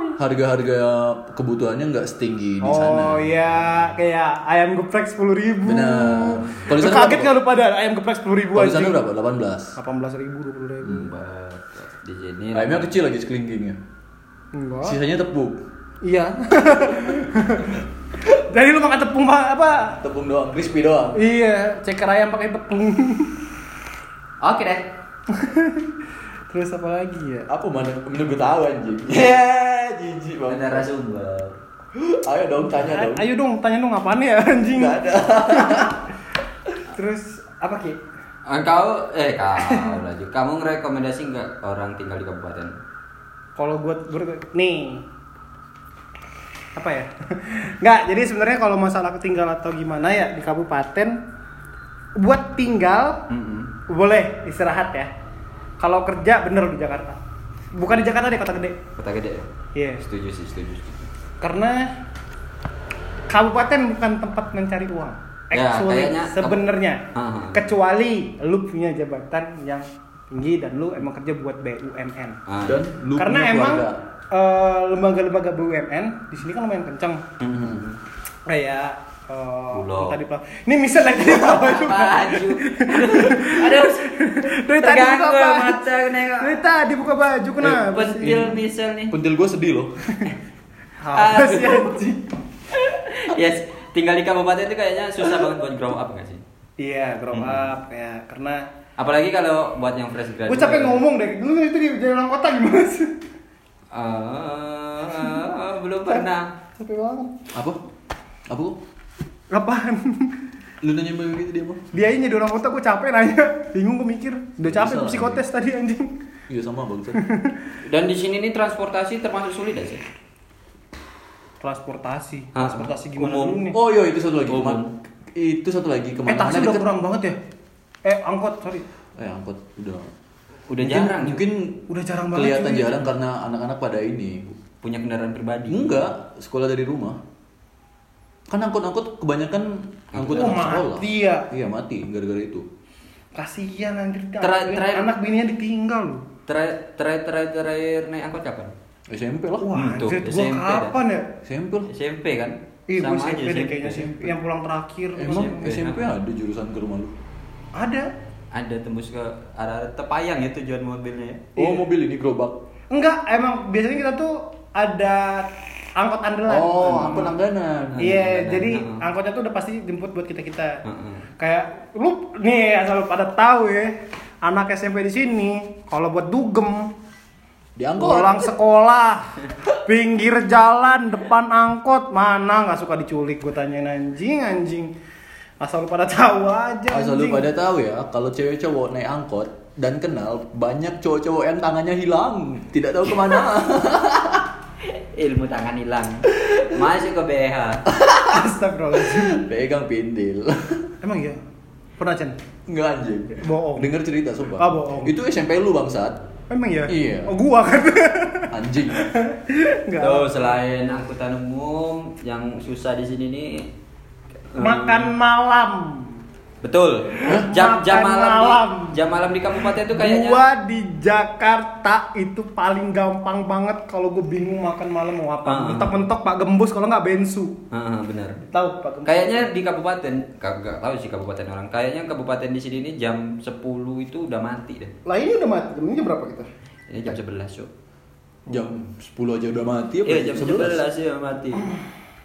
[SPEAKER 2] Harga-harga kebutuhannya nggak setinggi di
[SPEAKER 1] Oh
[SPEAKER 2] sana.
[SPEAKER 1] iya, kayak ayam geprek sepuluh ribu.
[SPEAKER 2] Benar. Kalau di
[SPEAKER 1] Lu
[SPEAKER 2] sana
[SPEAKER 1] kaget
[SPEAKER 2] berapa?
[SPEAKER 1] nggak lu pada ayam geprek sepuluh ribu
[SPEAKER 2] Kalau di sana
[SPEAKER 1] anjing?
[SPEAKER 2] berapa? 18.
[SPEAKER 1] Delapan belas ribu, dua puluh ribu.
[SPEAKER 3] Mbak, Di sini.
[SPEAKER 1] Iya.
[SPEAKER 2] Ayamnya kecil lagi sekelingkingnya. Hmm.
[SPEAKER 1] Enggak.
[SPEAKER 2] Sisanya tepung.
[SPEAKER 1] Iya. Jadi lu makan tepung ma- apa
[SPEAKER 2] Tepung doang, crispy doang.
[SPEAKER 1] Iya, ceker ayam pakai tepung.
[SPEAKER 3] Oke deh.
[SPEAKER 1] Terus apa lagi ya?
[SPEAKER 2] Apa mana? Mana gue tahu anjing.
[SPEAKER 1] Iya,
[SPEAKER 2] Ya, jijik
[SPEAKER 3] Ada
[SPEAKER 2] banget.
[SPEAKER 3] Sumber.
[SPEAKER 2] Ayo dong tanya dong.
[SPEAKER 1] Eh, Ayo dong, tanya dong apaan ya anjing.
[SPEAKER 2] Enggak ada.
[SPEAKER 1] Terus apa Ki?
[SPEAKER 3] Engkau eh kau lagi. Kamu ngerekomendasi nggak orang tinggal di kabupaten?
[SPEAKER 1] Kalau gua ber- nih apa ya? Nggak, jadi sebenarnya kalau masalah tinggal atau gimana ya di kabupaten buat tinggal
[SPEAKER 3] Mm-mm.
[SPEAKER 1] boleh istirahat ya. Kalau kerja bener di Jakarta. Bukan di Jakarta deh kota gede.
[SPEAKER 3] Kota gede. ya?
[SPEAKER 1] Iya.
[SPEAKER 3] Setuju sih, setuju. setuju.
[SPEAKER 1] Karena kabupaten bukan tempat mencari uang.
[SPEAKER 3] Ya,
[SPEAKER 1] Actually,
[SPEAKER 3] kayaknya kamu-
[SPEAKER 1] sebenarnya
[SPEAKER 3] Aha.
[SPEAKER 1] kecuali lu punya jabatan yang tinggi dan lu emang kerja buat BUMN.
[SPEAKER 3] Ah,
[SPEAKER 2] Dan lu
[SPEAKER 1] Nah, Karena
[SPEAKER 2] punya
[SPEAKER 1] emang
[SPEAKER 2] keluarga.
[SPEAKER 1] eh, lembaga-lembaga BUMN di sini kan lumayan kenceng.
[SPEAKER 3] Mhm.
[SPEAKER 1] Kayak eh,
[SPEAKER 3] Bulog.
[SPEAKER 1] tadi Pak. Ini misal lagi di bawah juga.
[SPEAKER 3] Baju. Aduh.
[SPEAKER 1] Dari tadi buka
[SPEAKER 3] Terganggu
[SPEAKER 1] baju.
[SPEAKER 3] mata nengok.
[SPEAKER 1] Dari tadi buka baju kenapa? sih?
[SPEAKER 3] Eh, Pentil misal nih.
[SPEAKER 2] pentil gue sedih loh.
[SPEAKER 1] Apa sih
[SPEAKER 3] Aduh.
[SPEAKER 1] anjing?
[SPEAKER 3] Yes, tinggal di kabupaten itu kayaknya susah banget buat grow up nggak sih?
[SPEAKER 1] Iya,
[SPEAKER 3] Hmm.
[SPEAKER 1] grow up ya. Karena
[SPEAKER 3] Apalagi kalau buat yang fresh graduate.
[SPEAKER 1] gue
[SPEAKER 2] ya.
[SPEAKER 1] capek ngomong deh. Lu itu di di dalam kota gimana sih?
[SPEAKER 3] Ah, ah, ah, belum pernah.
[SPEAKER 1] Capek banget.
[SPEAKER 2] Apa? Apa? kok?
[SPEAKER 1] Apaan?
[SPEAKER 2] Lu nanya kayak gitu dia mah?
[SPEAKER 1] Dianya di orang kota gue capek nanya. Bingung gue mikir. Udah capek
[SPEAKER 2] Bisa
[SPEAKER 1] gue
[SPEAKER 2] lah,
[SPEAKER 1] psikotes tadi anjing.
[SPEAKER 2] Iya sama bagus.
[SPEAKER 3] Dan di sini nih transportasi termasuk sulit gak sih?
[SPEAKER 1] Transportasi.
[SPEAKER 3] Ah,
[SPEAKER 1] Transportasi gimana
[SPEAKER 3] umum.
[SPEAKER 1] dulu nih?
[SPEAKER 2] Oh iya itu satu lagi.
[SPEAKER 3] Umum.
[SPEAKER 2] Kema- itu satu lagi
[SPEAKER 1] eh
[SPEAKER 2] kemana-mana
[SPEAKER 1] taksi udah
[SPEAKER 2] deket-
[SPEAKER 1] kurang banget ya? Eh angkot, sorry.
[SPEAKER 2] Eh angkot udah.
[SPEAKER 3] Udah
[SPEAKER 2] mungkin,
[SPEAKER 3] jarang.
[SPEAKER 2] Mungkin
[SPEAKER 1] Udah jarang banget,
[SPEAKER 2] Kelihatan
[SPEAKER 1] cuy.
[SPEAKER 2] jarang karena anak-anak pada ini.
[SPEAKER 3] Punya kendaraan pribadi.
[SPEAKER 2] Enggak, sekolah dari rumah. Kan angkot-angkot kebanyakan angkot
[SPEAKER 1] Oh,
[SPEAKER 2] anak sekolah.
[SPEAKER 1] mati ya.
[SPEAKER 2] Iya mati gara-gara itu.
[SPEAKER 1] Kasihan anjir.
[SPEAKER 3] Tera-
[SPEAKER 1] anak-
[SPEAKER 3] terakhir-
[SPEAKER 1] anak bininya ditinggal loh.
[SPEAKER 3] Terakhir terakhir terakhir terakhir naik angkot kapan?
[SPEAKER 2] SMP lah.
[SPEAKER 1] Wah,
[SPEAKER 3] Untuk
[SPEAKER 1] anjir gua
[SPEAKER 3] SMP dah.
[SPEAKER 1] kapan ya?
[SPEAKER 2] SMP lah.
[SPEAKER 3] SMP kan?
[SPEAKER 1] Ih, Iya, gua SMP deh kayaknya SMP. Yang pulang terakhir.
[SPEAKER 2] Emang
[SPEAKER 3] SMP.
[SPEAKER 2] SMP ada jurusan ke rumah lu?
[SPEAKER 1] Ada.
[SPEAKER 3] Ada tembus ke arah Tepayang ya tujuan mobilnya ya.
[SPEAKER 2] Oh
[SPEAKER 1] Iya.
[SPEAKER 2] mobil ini gerobak.
[SPEAKER 1] Enggak, emang biasanya kita tuh ada angkot andalan.
[SPEAKER 2] Oh aku langganan.
[SPEAKER 1] Nah. Iya,
[SPEAKER 3] Iya, Ah,
[SPEAKER 1] jadi
[SPEAKER 3] benar.
[SPEAKER 1] angkotnya tuh udah pasti jemput buat kita kita.
[SPEAKER 3] Heeh.
[SPEAKER 1] Kayak lu nih asal lu pada tahu ya, anak SMP di sini kalau buat dugem
[SPEAKER 2] Di angkot.
[SPEAKER 1] pulang sekolah pinggir jalan depan angkot mana nggak suka diculik gue tanyain anjing anjing asal lu pada tahu aja
[SPEAKER 2] Asal lu
[SPEAKER 1] anjing.
[SPEAKER 2] pada tahu ya, kalau cewek cowok naik angkot dan kenal banyak cowok-cowok yang tangannya hilang, tidak tahu kemana.
[SPEAKER 3] Ilmu tangan hilang. Masuk ke BH.
[SPEAKER 1] astagfirullahaladzim
[SPEAKER 2] Pegang pindil.
[SPEAKER 1] emang iya pernah Cen?
[SPEAKER 2] Enggak anjing.
[SPEAKER 1] Bohong.
[SPEAKER 2] Dengar cerita sumpah.
[SPEAKER 1] Ah, bohong.
[SPEAKER 2] Itu SMP lu bangsat.
[SPEAKER 1] emang iya
[SPEAKER 2] Iya.
[SPEAKER 1] oh, gua kan
[SPEAKER 2] anjing.
[SPEAKER 1] Enggak.
[SPEAKER 3] Tuh selain angkutan umum yang susah di sini nih eh,
[SPEAKER 1] Makan malam.
[SPEAKER 3] Betul. Jam
[SPEAKER 1] Makan
[SPEAKER 3] jam malam, di-
[SPEAKER 1] malam.
[SPEAKER 3] jam malam di kabupaten itu kayaknya
[SPEAKER 1] Gua di Jakarta itu paling gampang banget kalau gue bingung makan malam mau
[SPEAKER 3] Ah.
[SPEAKER 1] apa. Mentok-mentok Pak Gembus kalau nggak Bensu.
[SPEAKER 3] Ah, benar.
[SPEAKER 1] Tahu Pak Gembus?
[SPEAKER 3] Kayaknya di kabupaten, kagak tahu sih kabupaten orang. Kayaknya kabupaten di sini nih jam 10 itu udah mati deh.
[SPEAKER 1] Lah ini udah mati. Ini jam berapa kita?
[SPEAKER 3] Ini jam 11, Cuk.
[SPEAKER 2] Jam 10 aja udah mati apa?
[SPEAKER 3] Iya, jam 11 ya mati.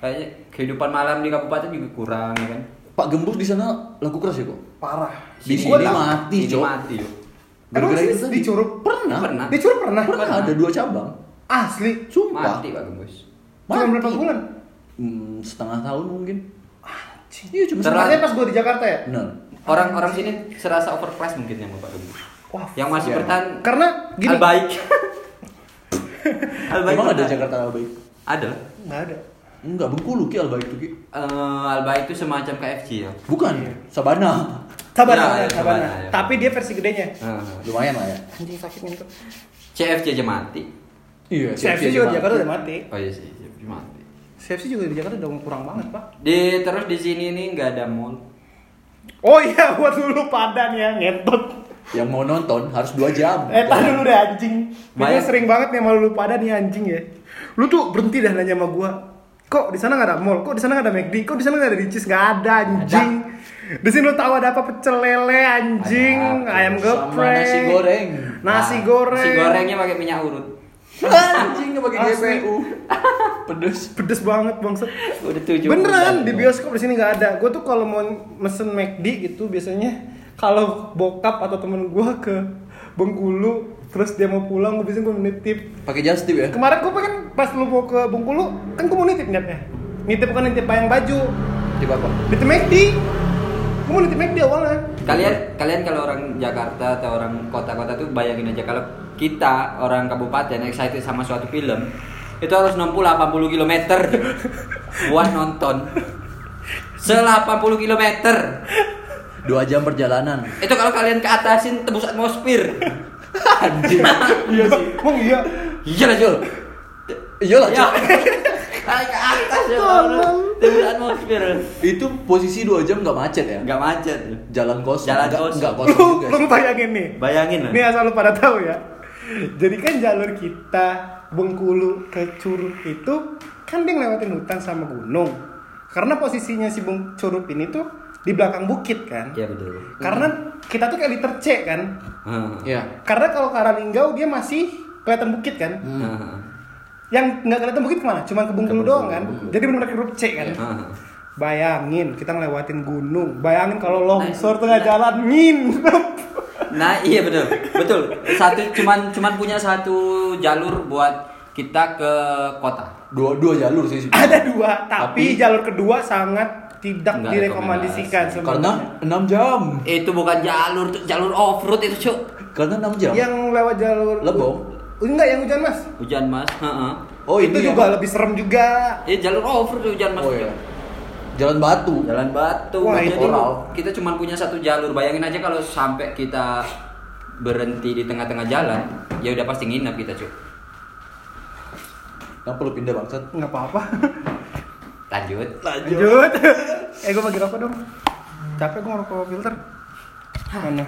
[SPEAKER 3] Kayaknya kehidupan malam di kabupaten juga kurang ya kan.
[SPEAKER 2] Pak Gembus di sana laku keras ya kok?
[SPEAKER 1] Parah.
[SPEAKER 2] Di
[SPEAKER 1] Gua
[SPEAKER 2] sini
[SPEAKER 1] tak-
[SPEAKER 2] mati,
[SPEAKER 3] Ini
[SPEAKER 2] Cok.
[SPEAKER 3] mati, Cuk.
[SPEAKER 1] Emang
[SPEAKER 2] Gara-gara
[SPEAKER 1] sih
[SPEAKER 2] itu tadi.
[SPEAKER 1] di Curug?
[SPEAKER 2] Pernah.
[SPEAKER 3] Pernah.
[SPEAKER 1] Di Curug pernah?
[SPEAKER 2] Pernah ada dua cabang.
[SPEAKER 1] Asli.
[SPEAKER 2] Sumpah.
[SPEAKER 3] Mati Pak Gembus.
[SPEAKER 1] Cuma
[SPEAKER 2] Mati.
[SPEAKER 1] berapa bulan?
[SPEAKER 2] Hmm, setengah tahun mungkin. Iya cuma
[SPEAKER 3] Terlalu-
[SPEAKER 2] setengah.
[SPEAKER 1] Sebenarnya pas gue di Jakarta ya.
[SPEAKER 2] Benar.
[SPEAKER 3] Orang-orang sini serasa overpriced mungkin ya sama Pak Gembus.
[SPEAKER 1] Wah,
[SPEAKER 3] Yang masih
[SPEAKER 2] iya.
[SPEAKER 3] bertahan
[SPEAKER 1] Karena gini.
[SPEAKER 3] Albaik. Albaik.
[SPEAKER 2] Emang ada
[SPEAKER 3] bertahan.
[SPEAKER 2] Jakarta Albaik?
[SPEAKER 3] Ada. lah.
[SPEAKER 1] Nggak ada.
[SPEAKER 2] Enggak, Bengkulu Ki Albaik itu Ki.
[SPEAKER 3] Eh, Albaik itu semacam KFC ya.
[SPEAKER 2] Bukan,
[SPEAKER 1] Iya.
[SPEAKER 2] Sabana.
[SPEAKER 1] Sabana,
[SPEAKER 3] Iya, iya,
[SPEAKER 1] Sabana.
[SPEAKER 3] Sabana, iya.
[SPEAKER 1] Tapi dia versi gedenya.
[SPEAKER 3] Eh,
[SPEAKER 2] Lumayan lah ya.
[SPEAKER 1] Anjing sakit ngentuk.
[SPEAKER 3] CFC aja mati.
[SPEAKER 2] Iya,
[SPEAKER 1] CFC juga di Jakarta udah mati.
[SPEAKER 3] Oh iya sih, CFC mati.
[SPEAKER 1] CFC juga di Jakarta udah kurang banget, Pak.
[SPEAKER 3] Di terus di sini nih nggak ada mall.
[SPEAKER 1] Oh iya, buat dulu padan ya, ngentot.
[SPEAKER 2] Yang mau nonton harus 2 jam.
[SPEAKER 1] Eh, tahan dulu deh anjing. Gue
[SPEAKER 3] Bayang.
[SPEAKER 1] sering banget nih sama lu padan nih anjing ya. Lu tuh berhenti dah nanya sama gua. Kok di sana nggak ada mall? Kok di sana nggak ada McD? Kok di sana nggak ada Ricis? Nggak ada anjing. Di sini lu tahu ada apa? Pecel lele anjing,
[SPEAKER 3] Ada apa?
[SPEAKER 1] ayam
[SPEAKER 2] Sama
[SPEAKER 1] geprek,
[SPEAKER 2] nasi goreng.
[SPEAKER 1] nasi
[SPEAKER 3] Nah,
[SPEAKER 1] goreng,
[SPEAKER 3] Nasi gorengnya pakai minyak urut.
[SPEAKER 2] Anjing enggak pakai
[SPEAKER 1] Asli.
[SPEAKER 2] GPU. Pedes.
[SPEAKER 1] pedes banget bangset.
[SPEAKER 3] Udah tujuh.
[SPEAKER 1] Beneran di
[SPEAKER 2] dong.
[SPEAKER 1] bioskop di sini nggak ada. Gue tuh kalau mau mesen McD gitu biasanya kalau bokap atau temen gue ke Bengkulu terus dia mau pulang gue biasanya gue nitip.
[SPEAKER 2] Pakai just tip ya.
[SPEAKER 1] Kemarin gue pengen pas lu mau ke Bengkulu kan gue mau nitip niatnya. Nitip bukan nitip bayang baju.
[SPEAKER 2] Tip apa?
[SPEAKER 1] Nitip McD. Gue mau nitip McD awalnya.
[SPEAKER 3] Kalian kalian kalau orang Jakarta atau orang kota-kota tuh bayangin aja kalau kita orang kabupaten excited sama suatu film itu harus 60 80 km buat nonton. Se 80 km.
[SPEAKER 2] 2 jam perjalanan.
[SPEAKER 3] Itu kalau kalian ke atasin tebus atmosfer.
[SPEAKER 2] Anjing.
[SPEAKER 1] Iya sih. Emang iya.
[SPEAKER 2] Iya lah, Jol. Iya lah,
[SPEAKER 3] Ya.
[SPEAKER 2] Jol.
[SPEAKER 3] Naik ke atas ya.
[SPEAKER 1] Tolong.
[SPEAKER 3] Tebus atmosfer.
[SPEAKER 2] Itu posisi 2 jam enggak macet ya.
[SPEAKER 3] Enggak macet.
[SPEAKER 2] Jalan kosong.
[SPEAKER 3] Jalan
[SPEAKER 2] Nggak-
[SPEAKER 3] kosong.
[SPEAKER 2] nggak kosong
[SPEAKER 1] Lu
[SPEAKER 2] juga.
[SPEAKER 1] lu bayangin nih.
[SPEAKER 3] Bayangin lah.
[SPEAKER 1] Ini
[SPEAKER 2] Iya.
[SPEAKER 1] asal lu pada tahu ya. Jadi kan jalur kita Bengkulu ke Curug itu kan dia ngelewatin hutan sama gunung. Karena posisinya si Beng Curug ini tuh di belakang bukit kan.
[SPEAKER 3] Iya betul.
[SPEAKER 1] Karena kita tuh kayak ditercek kan.
[SPEAKER 3] Hmm.
[SPEAKER 2] Iya.
[SPEAKER 1] Karena kalau ke arah Linggau dia masih kelihatan bukit kan.
[SPEAKER 3] Hmm.
[SPEAKER 1] Yang nggak kelihatan bukit kemana? Cuman ke Bengkulu doang kan. Jadi benar-benar ke grup C kan.
[SPEAKER 3] Hmm.
[SPEAKER 1] Bayangin kita ngelewatin gunung. Bayangin kalau longsor tengah jalan nginep.
[SPEAKER 3] Nah iya betul betul satu cuman cuman punya satu jalur buat kita ke kota.
[SPEAKER 2] Dua dua jalur sih sebenarnya.
[SPEAKER 1] ada dua tapi,
[SPEAKER 2] Tapi-
[SPEAKER 1] jalur kedua sangat tidak
[SPEAKER 3] Nggak
[SPEAKER 1] direkomendasikan
[SPEAKER 3] rekomendasi.
[SPEAKER 1] sebenarnya
[SPEAKER 2] Karena 6 jam.
[SPEAKER 3] Itu bukan jalur tuh, jalur off road itu cuk.
[SPEAKER 2] Karena 6 jam.
[SPEAKER 1] yang lewat jalur
[SPEAKER 2] Lebong.
[SPEAKER 1] Oh, enggak yang hujan mas
[SPEAKER 3] Hujan mas. Heeh.
[SPEAKER 2] Oh,
[SPEAKER 1] itu
[SPEAKER 2] ini
[SPEAKER 1] juga
[SPEAKER 2] apa?
[SPEAKER 1] lebih serem juga
[SPEAKER 3] Eh jalur off road tuh hujan mas.
[SPEAKER 2] Oh iya. Jalan batu.
[SPEAKER 3] Jalan batu.
[SPEAKER 1] Wah,
[SPEAKER 3] Jadi
[SPEAKER 1] itu-
[SPEAKER 3] tuh, kita cuman punya satu jalur. Bayangin aja kalau sampai kita berhenti di tengah-tengah jalan, ya udah pasti nginep kita cuk.
[SPEAKER 2] Kenapa lu pindah bangsat?
[SPEAKER 1] nggak apa-apa
[SPEAKER 3] Lanjut.
[SPEAKER 1] lanjut eh gue bagi rokok dong capek gue ngerokok filter mana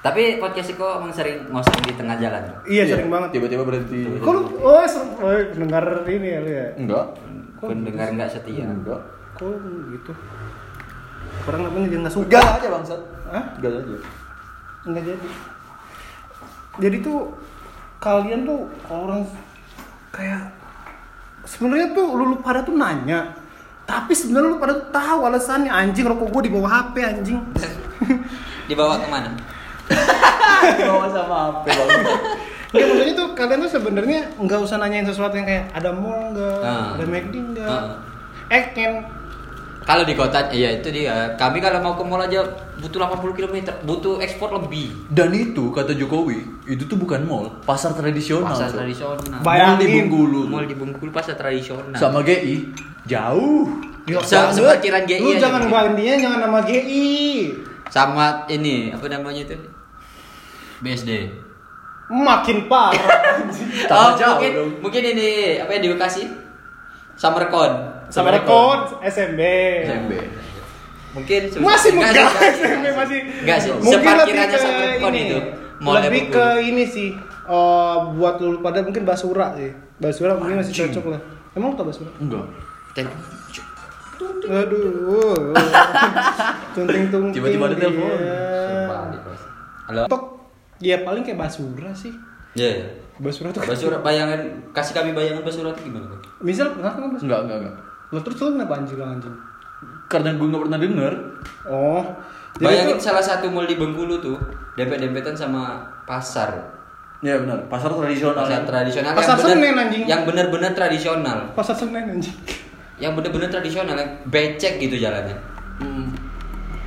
[SPEAKER 3] Tapi podcast kok emang sering ngosong di tengah jalan.
[SPEAKER 1] iya sering banget
[SPEAKER 2] Tiba-tiba berhenti.
[SPEAKER 1] kok lu oh serem oh, dengar ini ya lu ya
[SPEAKER 2] Enggak.
[SPEAKER 3] Pendengar nggak setia.
[SPEAKER 2] Enggak.
[SPEAKER 1] kok gitu orang namanya dia nggak suka
[SPEAKER 2] Gal aja bangsat.
[SPEAKER 1] Hah?
[SPEAKER 2] Gal aja.
[SPEAKER 1] nggak jadi jadi tuh kalian tuh orang kayak sebenarnya tuh lu, lu pada tuh nanya tapi sebenarnya lu pada tuh tahu alasannya anjing rokok gue di bawah HP anjing
[SPEAKER 3] Dibawa kemana?
[SPEAKER 2] Bawa sama HP bangsat.
[SPEAKER 1] Nggak, maksudnya tuh kalian tuh sebenarnya nggak usah nanyain sesuatu yang kayak ada mall nggak
[SPEAKER 3] Ah.
[SPEAKER 1] ada McD nggak
[SPEAKER 3] Ah.
[SPEAKER 1] eh Ken
[SPEAKER 3] Kalau di kota, iya itu dia. Kami kalau mau ke mall aja butuh 80 km, butuh ekspor lebih.
[SPEAKER 2] Dan itu kata Jokowi, itu tuh bukan mall, pasar tradisional.
[SPEAKER 3] Pasar
[SPEAKER 2] Cok.
[SPEAKER 3] tradisional.
[SPEAKER 1] Ba-
[SPEAKER 2] Mall di
[SPEAKER 1] Bayangin.
[SPEAKER 2] Bengkulu. tuh.
[SPEAKER 3] Mall di Bengkulu pasar tradisional.
[SPEAKER 2] Sama GI jauh.
[SPEAKER 3] Se-
[SPEAKER 1] jangan.
[SPEAKER 3] sepertiran GI
[SPEAKER 1] lu
[SPEAKER 3] Kan aja,
[SPEAKER 1] jangan
[SPEAKER 3] mungkin.
[SPEAKER 1] gantinya jangan nama GI
[SPEAKER 3] Sama ini apa namanya itu? BSD.
[SPEAKER 1] makin parah
[SPEAKER 2] Tambah
[SPEAKER 3] Oh,
[SPEAKER 2] jauh
[SPEAKER 3] mungkin,
[SPEAKER 2] dong.
[SPEAKER 3] mungkin ini apa ya di Bekasi? Summer Con.
[SPEAKER 1] sama rekod SMB
[SPEAKER 2] SMP.
[SPEAKER 3] Mungkin sebesar-
[SPEAKER 1] masih
[SPEAKER 3] enggak
[SPEAKER 1] megah
[SPEAKER 3] sih, enggak sih,
[SPEAKER 1] SMB
[SPEAKER 3] enggak
[SPEAKER 1] masih
[SPEAKER 3] sih. Enggak sih.
[SPEAKER 1] mungkin
[SPEAKER 3] Separkir
[SPEAKER 1] lebih
[SPEAKER 3] aja
[SPEAKER 1] ke
[SPEAKER 3] Summer Con
[SPEAKER 1] ini
[SPEAKER 3] itu. Mall
[SPEAKER 1] lebih
[SPEAKER 3] Depok
[SPEAKER 1] ke
[SPEAKER 3] dulu.
[SPEAKER 1] ini sih eh, buat lu pada mungkin basura sih basura mungkin masih
[SPEAKER 2] Anjing.
[SPEAKER 1] cocok lah emang lu tau basura
[SPEAKER 2] Enggak.
[SPEAKER 1] aduh tunting tunting
[SPEAKER 2] Tiba-tiba ada telepon.
[SPEAKER 3] Sumpah, di pos. Halo.
[SPEAKER 1] Tok, ya paling kayak basura sih.
[SPEAKER 3] Ya.
[SPEAKER 1] Basura tuh.
[SPEAKER 3] Basura bayangan kasih kami bayangan Basura itu gimana? Bang?
[SPEAKER 1] Misal pernah kan basura?
[SPEAKER 2] Enggak, enggak, enggak.
[SPEAKER 1] Lo terus lo kenapa anjing lo anjing?
[SPEAKER 2] Karena gue nggak pernah denger.
[SPEAKER 1] Oh.
[SPEAKER 3] Bayangin
[SPEAKER 1] tuh-
[SPEAKER 3] salah satu mall di Bengkulu tuh dempet-dempetan sama pasar.
[SPEAKER 2] Ya benar, pasar tradisional.
[SPEAKER 3] Pasar
[SPEAKER 2] ya.
[SPEAKER 3] tradisional
[SPEAKER 1] Pasar
[SPEAKER 3] yang bener-
[SPEAKER 1] Senen, anjing.
[SPEAKER 3] Yang benar-benar tradisional.
[SPEAKER 1] pasar Senen anjing.
[SPEAKER 3] Yang benar-benar tradisional, yang becek gitu jalannya.
[SPEAKER 2] Hmm.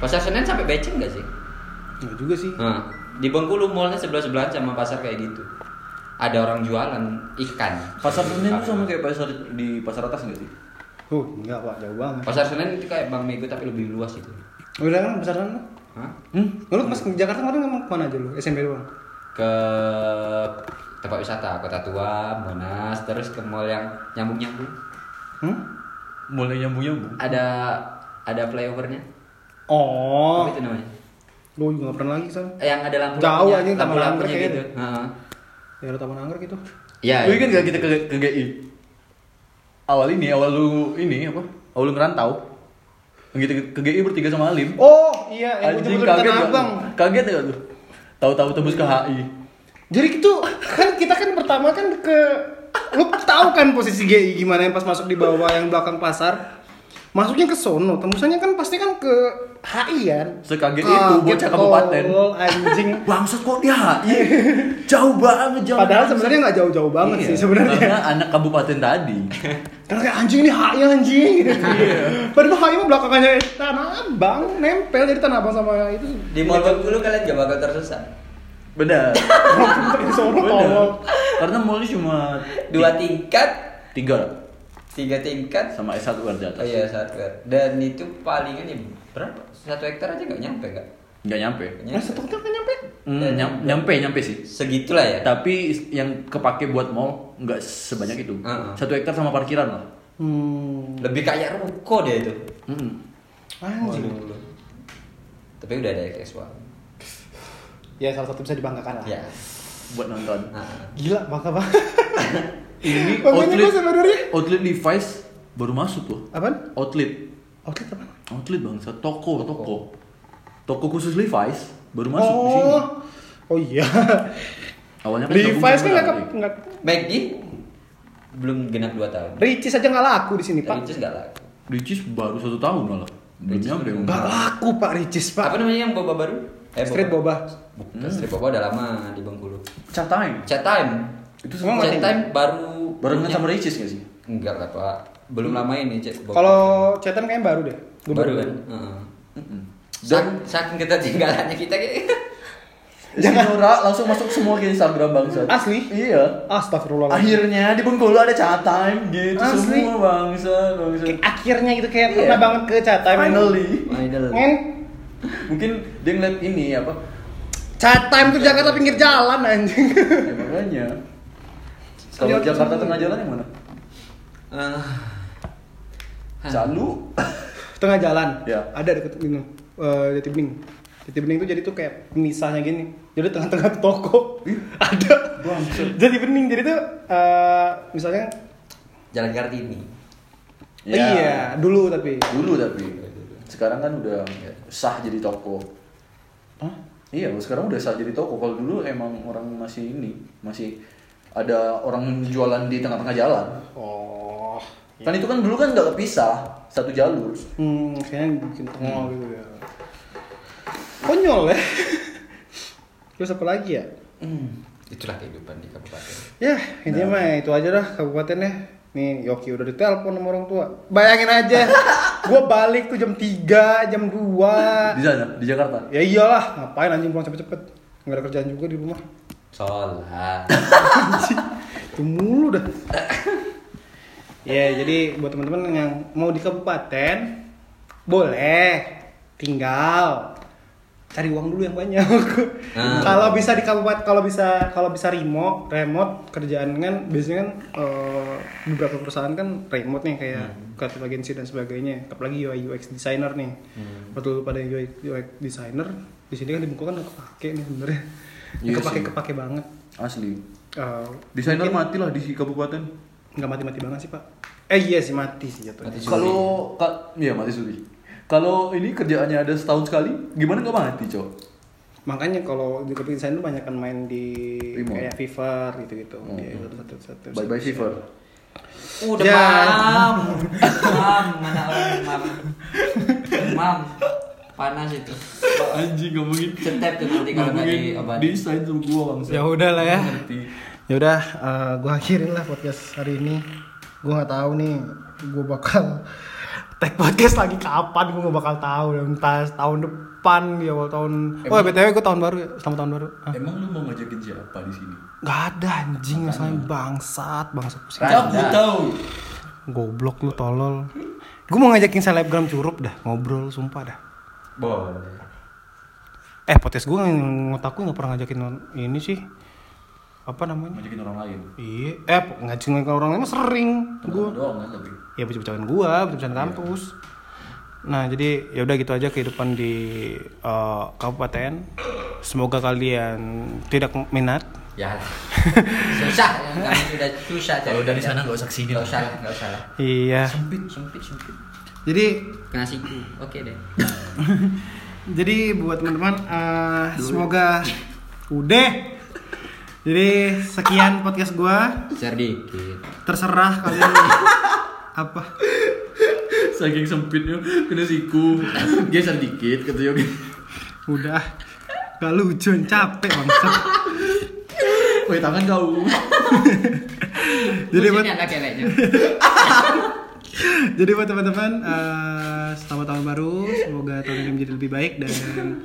[SPEAKER 3] Pasar Senen sampai becek gak sih?
[SPEAKER 1] Enggak juga sih.
[SPEAKER 3] Nah, di Bengkulu mallnya sebelah sebelahan sama pasar kayak gitu. Ada orang jualan ikan.
[SPEAKER 2] Pasar Senen tuh sama kayak pasar di pasar atas enggak sih?
[SPEAKER 1] Huh, enggak Pak, jauh banget.
[SPEAKER 3] Pasar Senen itu kayak Bang Mego tapi lebih luas gitu.
[SPEAKER 1] Udah kan pasar Senen.
[SPEAKER 3] Hah?
[SPEAKER 2] Hmm.
[SPEAKER 1] Lu pas ke Jakarta kemarin ngomong kemana aja lu? SMP doang.
[SPEAKER 3] Ke tempat wisata Kota Tua, Monas, terus ke mall yang nyambung-nyambung.
[SPEAKER 1] Hmm?
[SPEAKER 2] Mulai nyambung-nyambung.
[SPEAKER 3] Ada ada flyovernya.
[SPEAKER 1] Oh,
[SPEAKER 3] Apa itu namanya?
[SPEAKER 1] lu juga nggak pernah lagi sana.
[SPEAKER 3] Eh, Yang ada lampu
[SPEAKER 1] Jauh
[SPEAKER 3] lampunya,
[SPEAKER 1] anjing,
[SPEAKER 3] lampu
[SPEAKER 1] Taman
[SPEAKER 3] lampunya
[SPEAKER 1] Anggrek
[SPEAKER 3] gitu. Heeh.
[SPEAKER 1] Daerah Ya, Taman Anggrek itu.
[SPEAKER 3] Iya.
[SPEAKER 2] Lu ingat gitu? gak kita ke, ke GI? Awal ini, awal lu ini apa? Awal lu ngerantau. Gitu ke GI bertiga sama Alim.
[SPEAKER 1] Oh, iya, yang ujung di Tanah
[SPEAKER 2] gak?
[SPEAKER 1] Abang.
[SPEAKER 2] Kaget gak lu? Tahu-tahu tebus ke HI.
[SPEAKER 1] Jadi itu kan kita kan pertama kan ke lu tahu kan posisi GI gimana yang pas masuk di bawah yang belakang pasar. Masuknya ke sono, tembusannya kan pasti kan ke HI kan.
[SPEAKER 2] Sekaget
[SPEAKER 1] Kaget
[SPEAKER 2] itu bocah kabupaten.
[SPEAKER 1] tolol, anjing.
[SPEAKER 2] Bangsat kok di HI? Jauh banget jauh.
[SPEAKER 1] Padahal sebenarnya nggak jauh-jauh banget
[SPEAKER 2] Iya,
[SPEAKER 1] sih sebenarnya.
[SPEAKER 2] Karena anak kabupaten tadi.
[SPEAKER 1] Karena kayak anjing ini HI anjing. Padahal HI mah belakangannya Tanah Abang nempel jadi Tanah Abang sama itu.
[SPEAKER 3] Di mall Bengkulu kalian gak bakal tersesat.
[SPEAKER 2] Benar.
[SPEAKER 1] Di sono
[SPEAKER 2] Benar.
[SPEAKER 1] tolol.
[SPEAKER 2] Karena mallnya cuma
[SPEAKER 3] Dua tingkat,
[SPEAKER 2] tiga
[SPEAKER 3] tiga tingkat,
[SPEAKER 2] sama S1 di
[SPEAKER 3] Oh
[SPEAKER 2] atas.
[SPEAKER 3] iya satu hektar. Dan itu palingan ya berapa? Satu hektar aja nggak nyampe nggak?
[SPEAKER 2] Nggak nyampe.
[SPEAKER 3] Iya.
[SPEAKER 1] Nah, satu hotel kan nyampe.
[SPEAKER 2] Hmm,
[SPEAKER 3] Dan-
[SPEAKER 2] nyam- nyampe nyampe sih.
[SPEAKER 3] Segitulah ya.
[SPEAKER 2] Tapi yang kepake buat mall nggak sebanyak itu.
[SPEAKER 3] Heeh.
[SPEAKER 2] Satu hektar sama parkiran lah.
[SPEAKER 1] Hmm.
[SPEAKER 3] Lebih kayak ruko deh itu.
[SPEAKER 2] Mm-mm.
[SPEAKER 1] Anjing.
[SPEAKER 3] Waduh. Tapi udah ada XS1.
[SPEAKER 1] Ya salah satu bisa dibanggakan lah.
[SPEAKER 3] Ya.
[SPEAKER 2] Buat nonton.
[SPEAKER 3] Nah.
[SPEAKER 1] Gila bangga banget.
[SPEAKER 2] Ini
[SPEAKER 1] Makanya
[SPEAKER 2] outlet
[SPEAKER 1] gua sebenarnya
[SPEAKER 2] outlet Levi's baru masuk loh.
[SPEAKER 1] apaan?
[SPEAKER 2] Outlet
[SPEAKER 1] Outlet apa?
[SPEAKER 2] outlet bangsa toko toko toko khusus Levi's baru masuk di sini.
[SPEAKER 1] oh. Oh iya.
[SPEAKER 2] Awalnya kan
[SPEAKER 1] Levi's kan nggak
[SPEAKER 2] gabung-gabung.
[SPEAKER 1] nggak
[SPEAKER 3] McD belum genap 2 tahun.
[SPEAKER 1] Ricis aja nggak laku di sini pak.
[SPEAKER 3] Ricis nggak laku.
[SPEAKER 2] Ricis baru satu tahun malah. Belum
[SPEAKER 3] Ricis
[SPEAKER 2] nyampe.
[SPEAKER 3] baru-
[SPEAKER 1] Nggak laku pak Ricis
[SPEAKER 3] Apa
[SPEAKER 1] pak.
[SPEAKER 3] namanya yang boba baru? Eh,
[SPEAKER 1] Street boba.
[SPEAKER 3] Bukan street boba udah lama di Bengkulu.
[SPEAKER 2] Chat time.
[SPEAKER 3] Chat time.
[SPEAKER 2] Itu
[SPEAKER 1] semua
[SPEAKER 3] Chat
[SPEAKER 1] masih-
[SPEAKER 3] time baru
[SPEAKER 2] Barengan sama Ricis gak sih?
[SPEAKER 3] Enggak lah pak. Belum lama ini chat boba.
[SPEAKER 1] Hmm. Kalau cetan kayaknya baru deh. Gua
[SPEAKER 3] baru kan? Heeh.
[SPEAKER 2] Mm-mm.
[SPEAKER 3] Sak- saking ketertinggalannya kita kayak
[SPEAKER 2] Si Nora langsung masuk semua ke Instagram bangsa.
[SPEAKER 1] Asli?
[SPEAKER 2] Iya.
[SPEAKER 1] Astagfirullahaladzim.
[SPEAKER 2] Akhirnya di Bengkulu ada chat time gitu
[SPEAKER 1] Asli.
[SPEAKER 2] semua bangsa bangsa.
[SPEAKER 1] Kayak Akhirnya gitu kayak
[SPEAKER 2] Iya.
[SPEAKER 1] pernah banget ke cetan.
[SPEAKER 2] Finally.
[SPEAKER 3] idol.
[SPEAKER 1] Men,
[SPEAKER 2] Mungkin dia ngeliat ini apa?
[SPEAKER 1] chat time tuh Jakarta pinggir jalan anjing.
[SPEAKER 2] ya, makanya. Kalau
[SPEAKER 1] Lihat
[SPEAKER 2] Jakarta
[SPEAKER 1] semua.
[SPEAKER 2] tengah jalan yang mana?
[SPEAKER 3] Eh,
[SPEAKER 2] Calu.
[SPEAKER 1] Tengah jalan.
[SPEAKER 2] Iya.
[SPEAKER 1] Ada deket ini. Eh, Jati Bening. Jati Bening tuh jadi tuh kayak pemisahnya gini. Jadi tengah-tengah toko. Ada.
[SPEAKER 2] Bangsat.
[SPEAKER 1] Jati Bening jadi tuh eh, misalnya
[SPEAKER 3] Jalan Kartini.
[SPEAKER 2] Ya.
[SPEAKER 1] iya dulu tapi
[SPEAKER 2] Dulu tapi sekarang kan udah sah jadi toko.
[SPEAKER 1] Hah?
[SPEAKER 2] Iya, kalau sekarang udah sah jadi toko. Kalau dulu emang orang masih ini, masih ada orang jualan di tengah-tengah jalan.
[SPEAKER 1] Oh.
[SPEAKER 2] Kan itu kan dulu kan nggak kepisah satu jalur.
[SPEAKER 1] Hmm, kayaknya bikin tengol gitu ya. Konyol ya. Terus apa lagi ya?
[SPEAKER 3] Itulah kehidupan di kabupaten.
[SPEAKER 1] Ya, ini mah itu aja dah kabupatennya. Nih, Yoki udah ditelepon sama orang tua. Bayangin aja, gua balik tuh jam 3, jam 2.
[SPEAKER 2] Di sana, di Jakarta.
[SPEAKER 1] Ya iyalah, ngapain anjing pulang cepet-cepet. Nggak ada kerjaan juga di rumah.
[SPEAKER 3] Sholat.
[SPEAKER 1] Itu mulu dah. ya, jadi buat teman-teman yang mau di kabupaten boleh tinggal cari uang dulu yang banyak.
[SPEAKER 4] Ah.
[SPEAKER 1] kalau bisa di kabupaten, kalau bisa kalau bisa remote, remote kerjaan kan biasanya kan eh, beberapa perusahaan kan remote nih kayak
[SPEAKER 2] Hmm.
[SPEAKER 1] kreatif agency dan sebagainya. Apalagi UI UX designer nih.
[SPEAKER 2] Hmm.
[SPEAKER 1] Betul pada UI UX designer di sini kan dibukukan udah kepake nih sebenarnya.
[SPEAKER 2] Iya
[SPEAKER 1] kepake
[SPEAKER 2] sih.
[SPEAKER 1] kepake banget.
[SPEAKER 2] Asli.
[SPEAKER 1] Eh,
[SPEAKER 2] Desainer matilah di kabupaten.
[SPEAKER 1] nggak mati-mati banget sih pak. Eh iya sih mati sih jatuhnya.
[SPEAKER 2] Kalau ka, iya mati suri. Kalau ini kerjaannya ada setahun sekali, gimana nggak mati, Cok?
[SPEAKER 1] Makanya kalau di Kopi Insan itu banyak kan main di
[SPEAKER 2] Remote.
[SPEAKER 1] kayak Fever gitu-gitu.
[SPEAKER 2] Oh.
[SPEAKER 1] Iya, satu satu satu.
[SPEAKER 2] Bye bye Fever.
[SPEAKER 3] Uh, demam.
[SPEAKER 1] Ya.
[SPEAKER 3] Demam, mana orang demam. Demam. Panas itu.
[SPEAKER 2] Anjing ngomongin
[SPEAKER 3] Cetep tuh nanti kalau nggak diobati.
[SPEAKER 2] desain sama gua bangsa.
[SPEAKER 1] Ya udah lah ya.
[SPEAKER 2] Ngerti.
[SPEAKER 1] Ya udah, eh, gua akhirin lah podcast hari ini. Gua nggak tahu nih, gua bakal tag podcast lagi kapan gua nggak bakal tahu entah tahun depan di awal tahun oh ya, btw gua tahun baru ya selamat tahun baru Hah?
[SPEAKER 2] Emang lu mau ngajak kerja apa di sini?
[SPEAKER 1] nggak ada anjing masalahnya bangsat bangsat pusing
[SPEAKER 2] Cabut tahu.
[SPEAKER 1] goblok lu tolol gua mau ngajakin selebgram curup dah ngobrol sumpah dah
[SPEAKER 4] Boleh.
[SPEAKER 1] Eh podcast gue ngotakku nggak pernah ngajakin orang- ini sih apa namanya?
[SPEAKER 2] Ngajakin orang lain.
[SPEAKER 1] Iya, eh po- ngajakin orang lain mah sering
[SPEAKER 2] Gua
[SPEAKER 1] gue.
[SPEAKER 2] doang kan tapi.
[SPEAKER 1] Ya bercanda gua, bercanda kampus. Nah jadi ya udah gitu aja kehidupan di eh, kabupaten. Semoga kalian tidak minat.
[SPEAKER 3] Ya. Susah, kami sudah susah. cari
[SPEAKER 4] Kalau dari
[SPEAKER 3] kerja.
[SPEAKER 4] sana nggak usah kesini lah. Ya.
[SPEAKER 3] Nggak usah, lah, nggak usah. lah.
[SPEAKER 1] Iya.
[SPEAKER 3] Sempit, sempit, sempit.
[SPEAKER 1] Jadi
[SPEAKER 3] Kena siku. Oke deh.
[SPEAKER 1] Jadi buat teman-teman eh,
[SPEAKER 2] ya.
[SPEAKER 1] semoga udah. Jadi sekian podcast gua.
[SPEAKER 3] Share dikit.
[SPEAKER 1] Terserah kalian apa.
[SPEAKER 2] Saking sempitnya kena siku. Geser dikit kata Yogi.
[SPEAKER 1] Udah Gak lucu, capek bangsat
[SPEAKER 2] Woi tangan kau.
[SPEAKER 1] Jadi
[SPEAKER 3] Jadi
[SPEAKER 1] buat,
[SPEAKER 3] ini ada keleknya.
[SPEAKER 1] jadi buat teman-teman eh, Selamat tahun baru Semoga tahun ini menjadi lebih baik Dan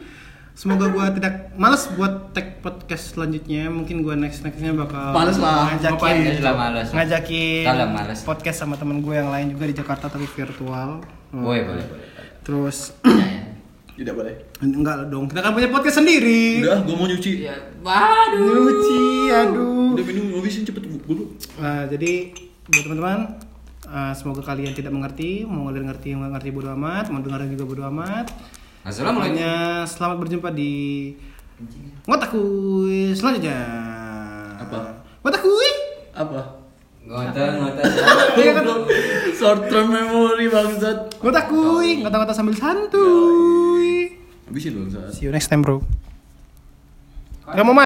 [SPEAKER 1] semoga gua tidak males buat tag podcast selanjutnya Mungkin gua next-nextnya bakal
[SPEAKER 2] Males lah,
[SPEAKER 1] Ngajakin,
[SPEAKER 2] ngapain?
[SPEAKER 3] Terus lah males.
[SPEAKER 1] ngajakin
[SPEAKER 3] Kalau males.
[SPEAKER 1] podcast sama temen gue yang lain juga di Jakarta tapi virtual Hmm.
[SPEAKER 3] Boleh, boleh, boleh.
[SPEAKER 1] Terus
[SPEAKER 3] Ya, ya.
[SPEAKER 2] Tidak boleh.
[SPEAKER 1] Enggak lah dong, kita kan punya podcast sendiri
[SPEAKER 2] Udah, gua mau nyuci.
[SPEAKER 3] Ya, waduh.
[SPEAKER 1] Luci, aduh
[SPEAKER 2] Udah minum habisin cepet bu- bulu.
[SPEAKER 1] Eh, jadi buat teman-teman eh, semoga kalian tidak mengerti, mau kalian ngerti nggak ngerti bodo amat, mau dengerin juga bodo amat.
[SPEAKER 3] Assalamualaikum.
[SPEAKER 1] Pokoknya selamat berjumpa di ngotakku selanjutnya.
[SPEAKER 2] Apa?
[SPEAKER 1] Ngotakku.
[SPEAKER 2] Apa?
[SPEAKER 3] Ngotot, ngotot.
[SPEAKER 2] Short term memory bangsat.
[SPEAKER 1] Ngotakku, ngotak-ngotak sambil santuy.
[SPEAKER 2] Habisin dong saat.
[SPEAKER 1] See you next time, bro. Gak mau mati.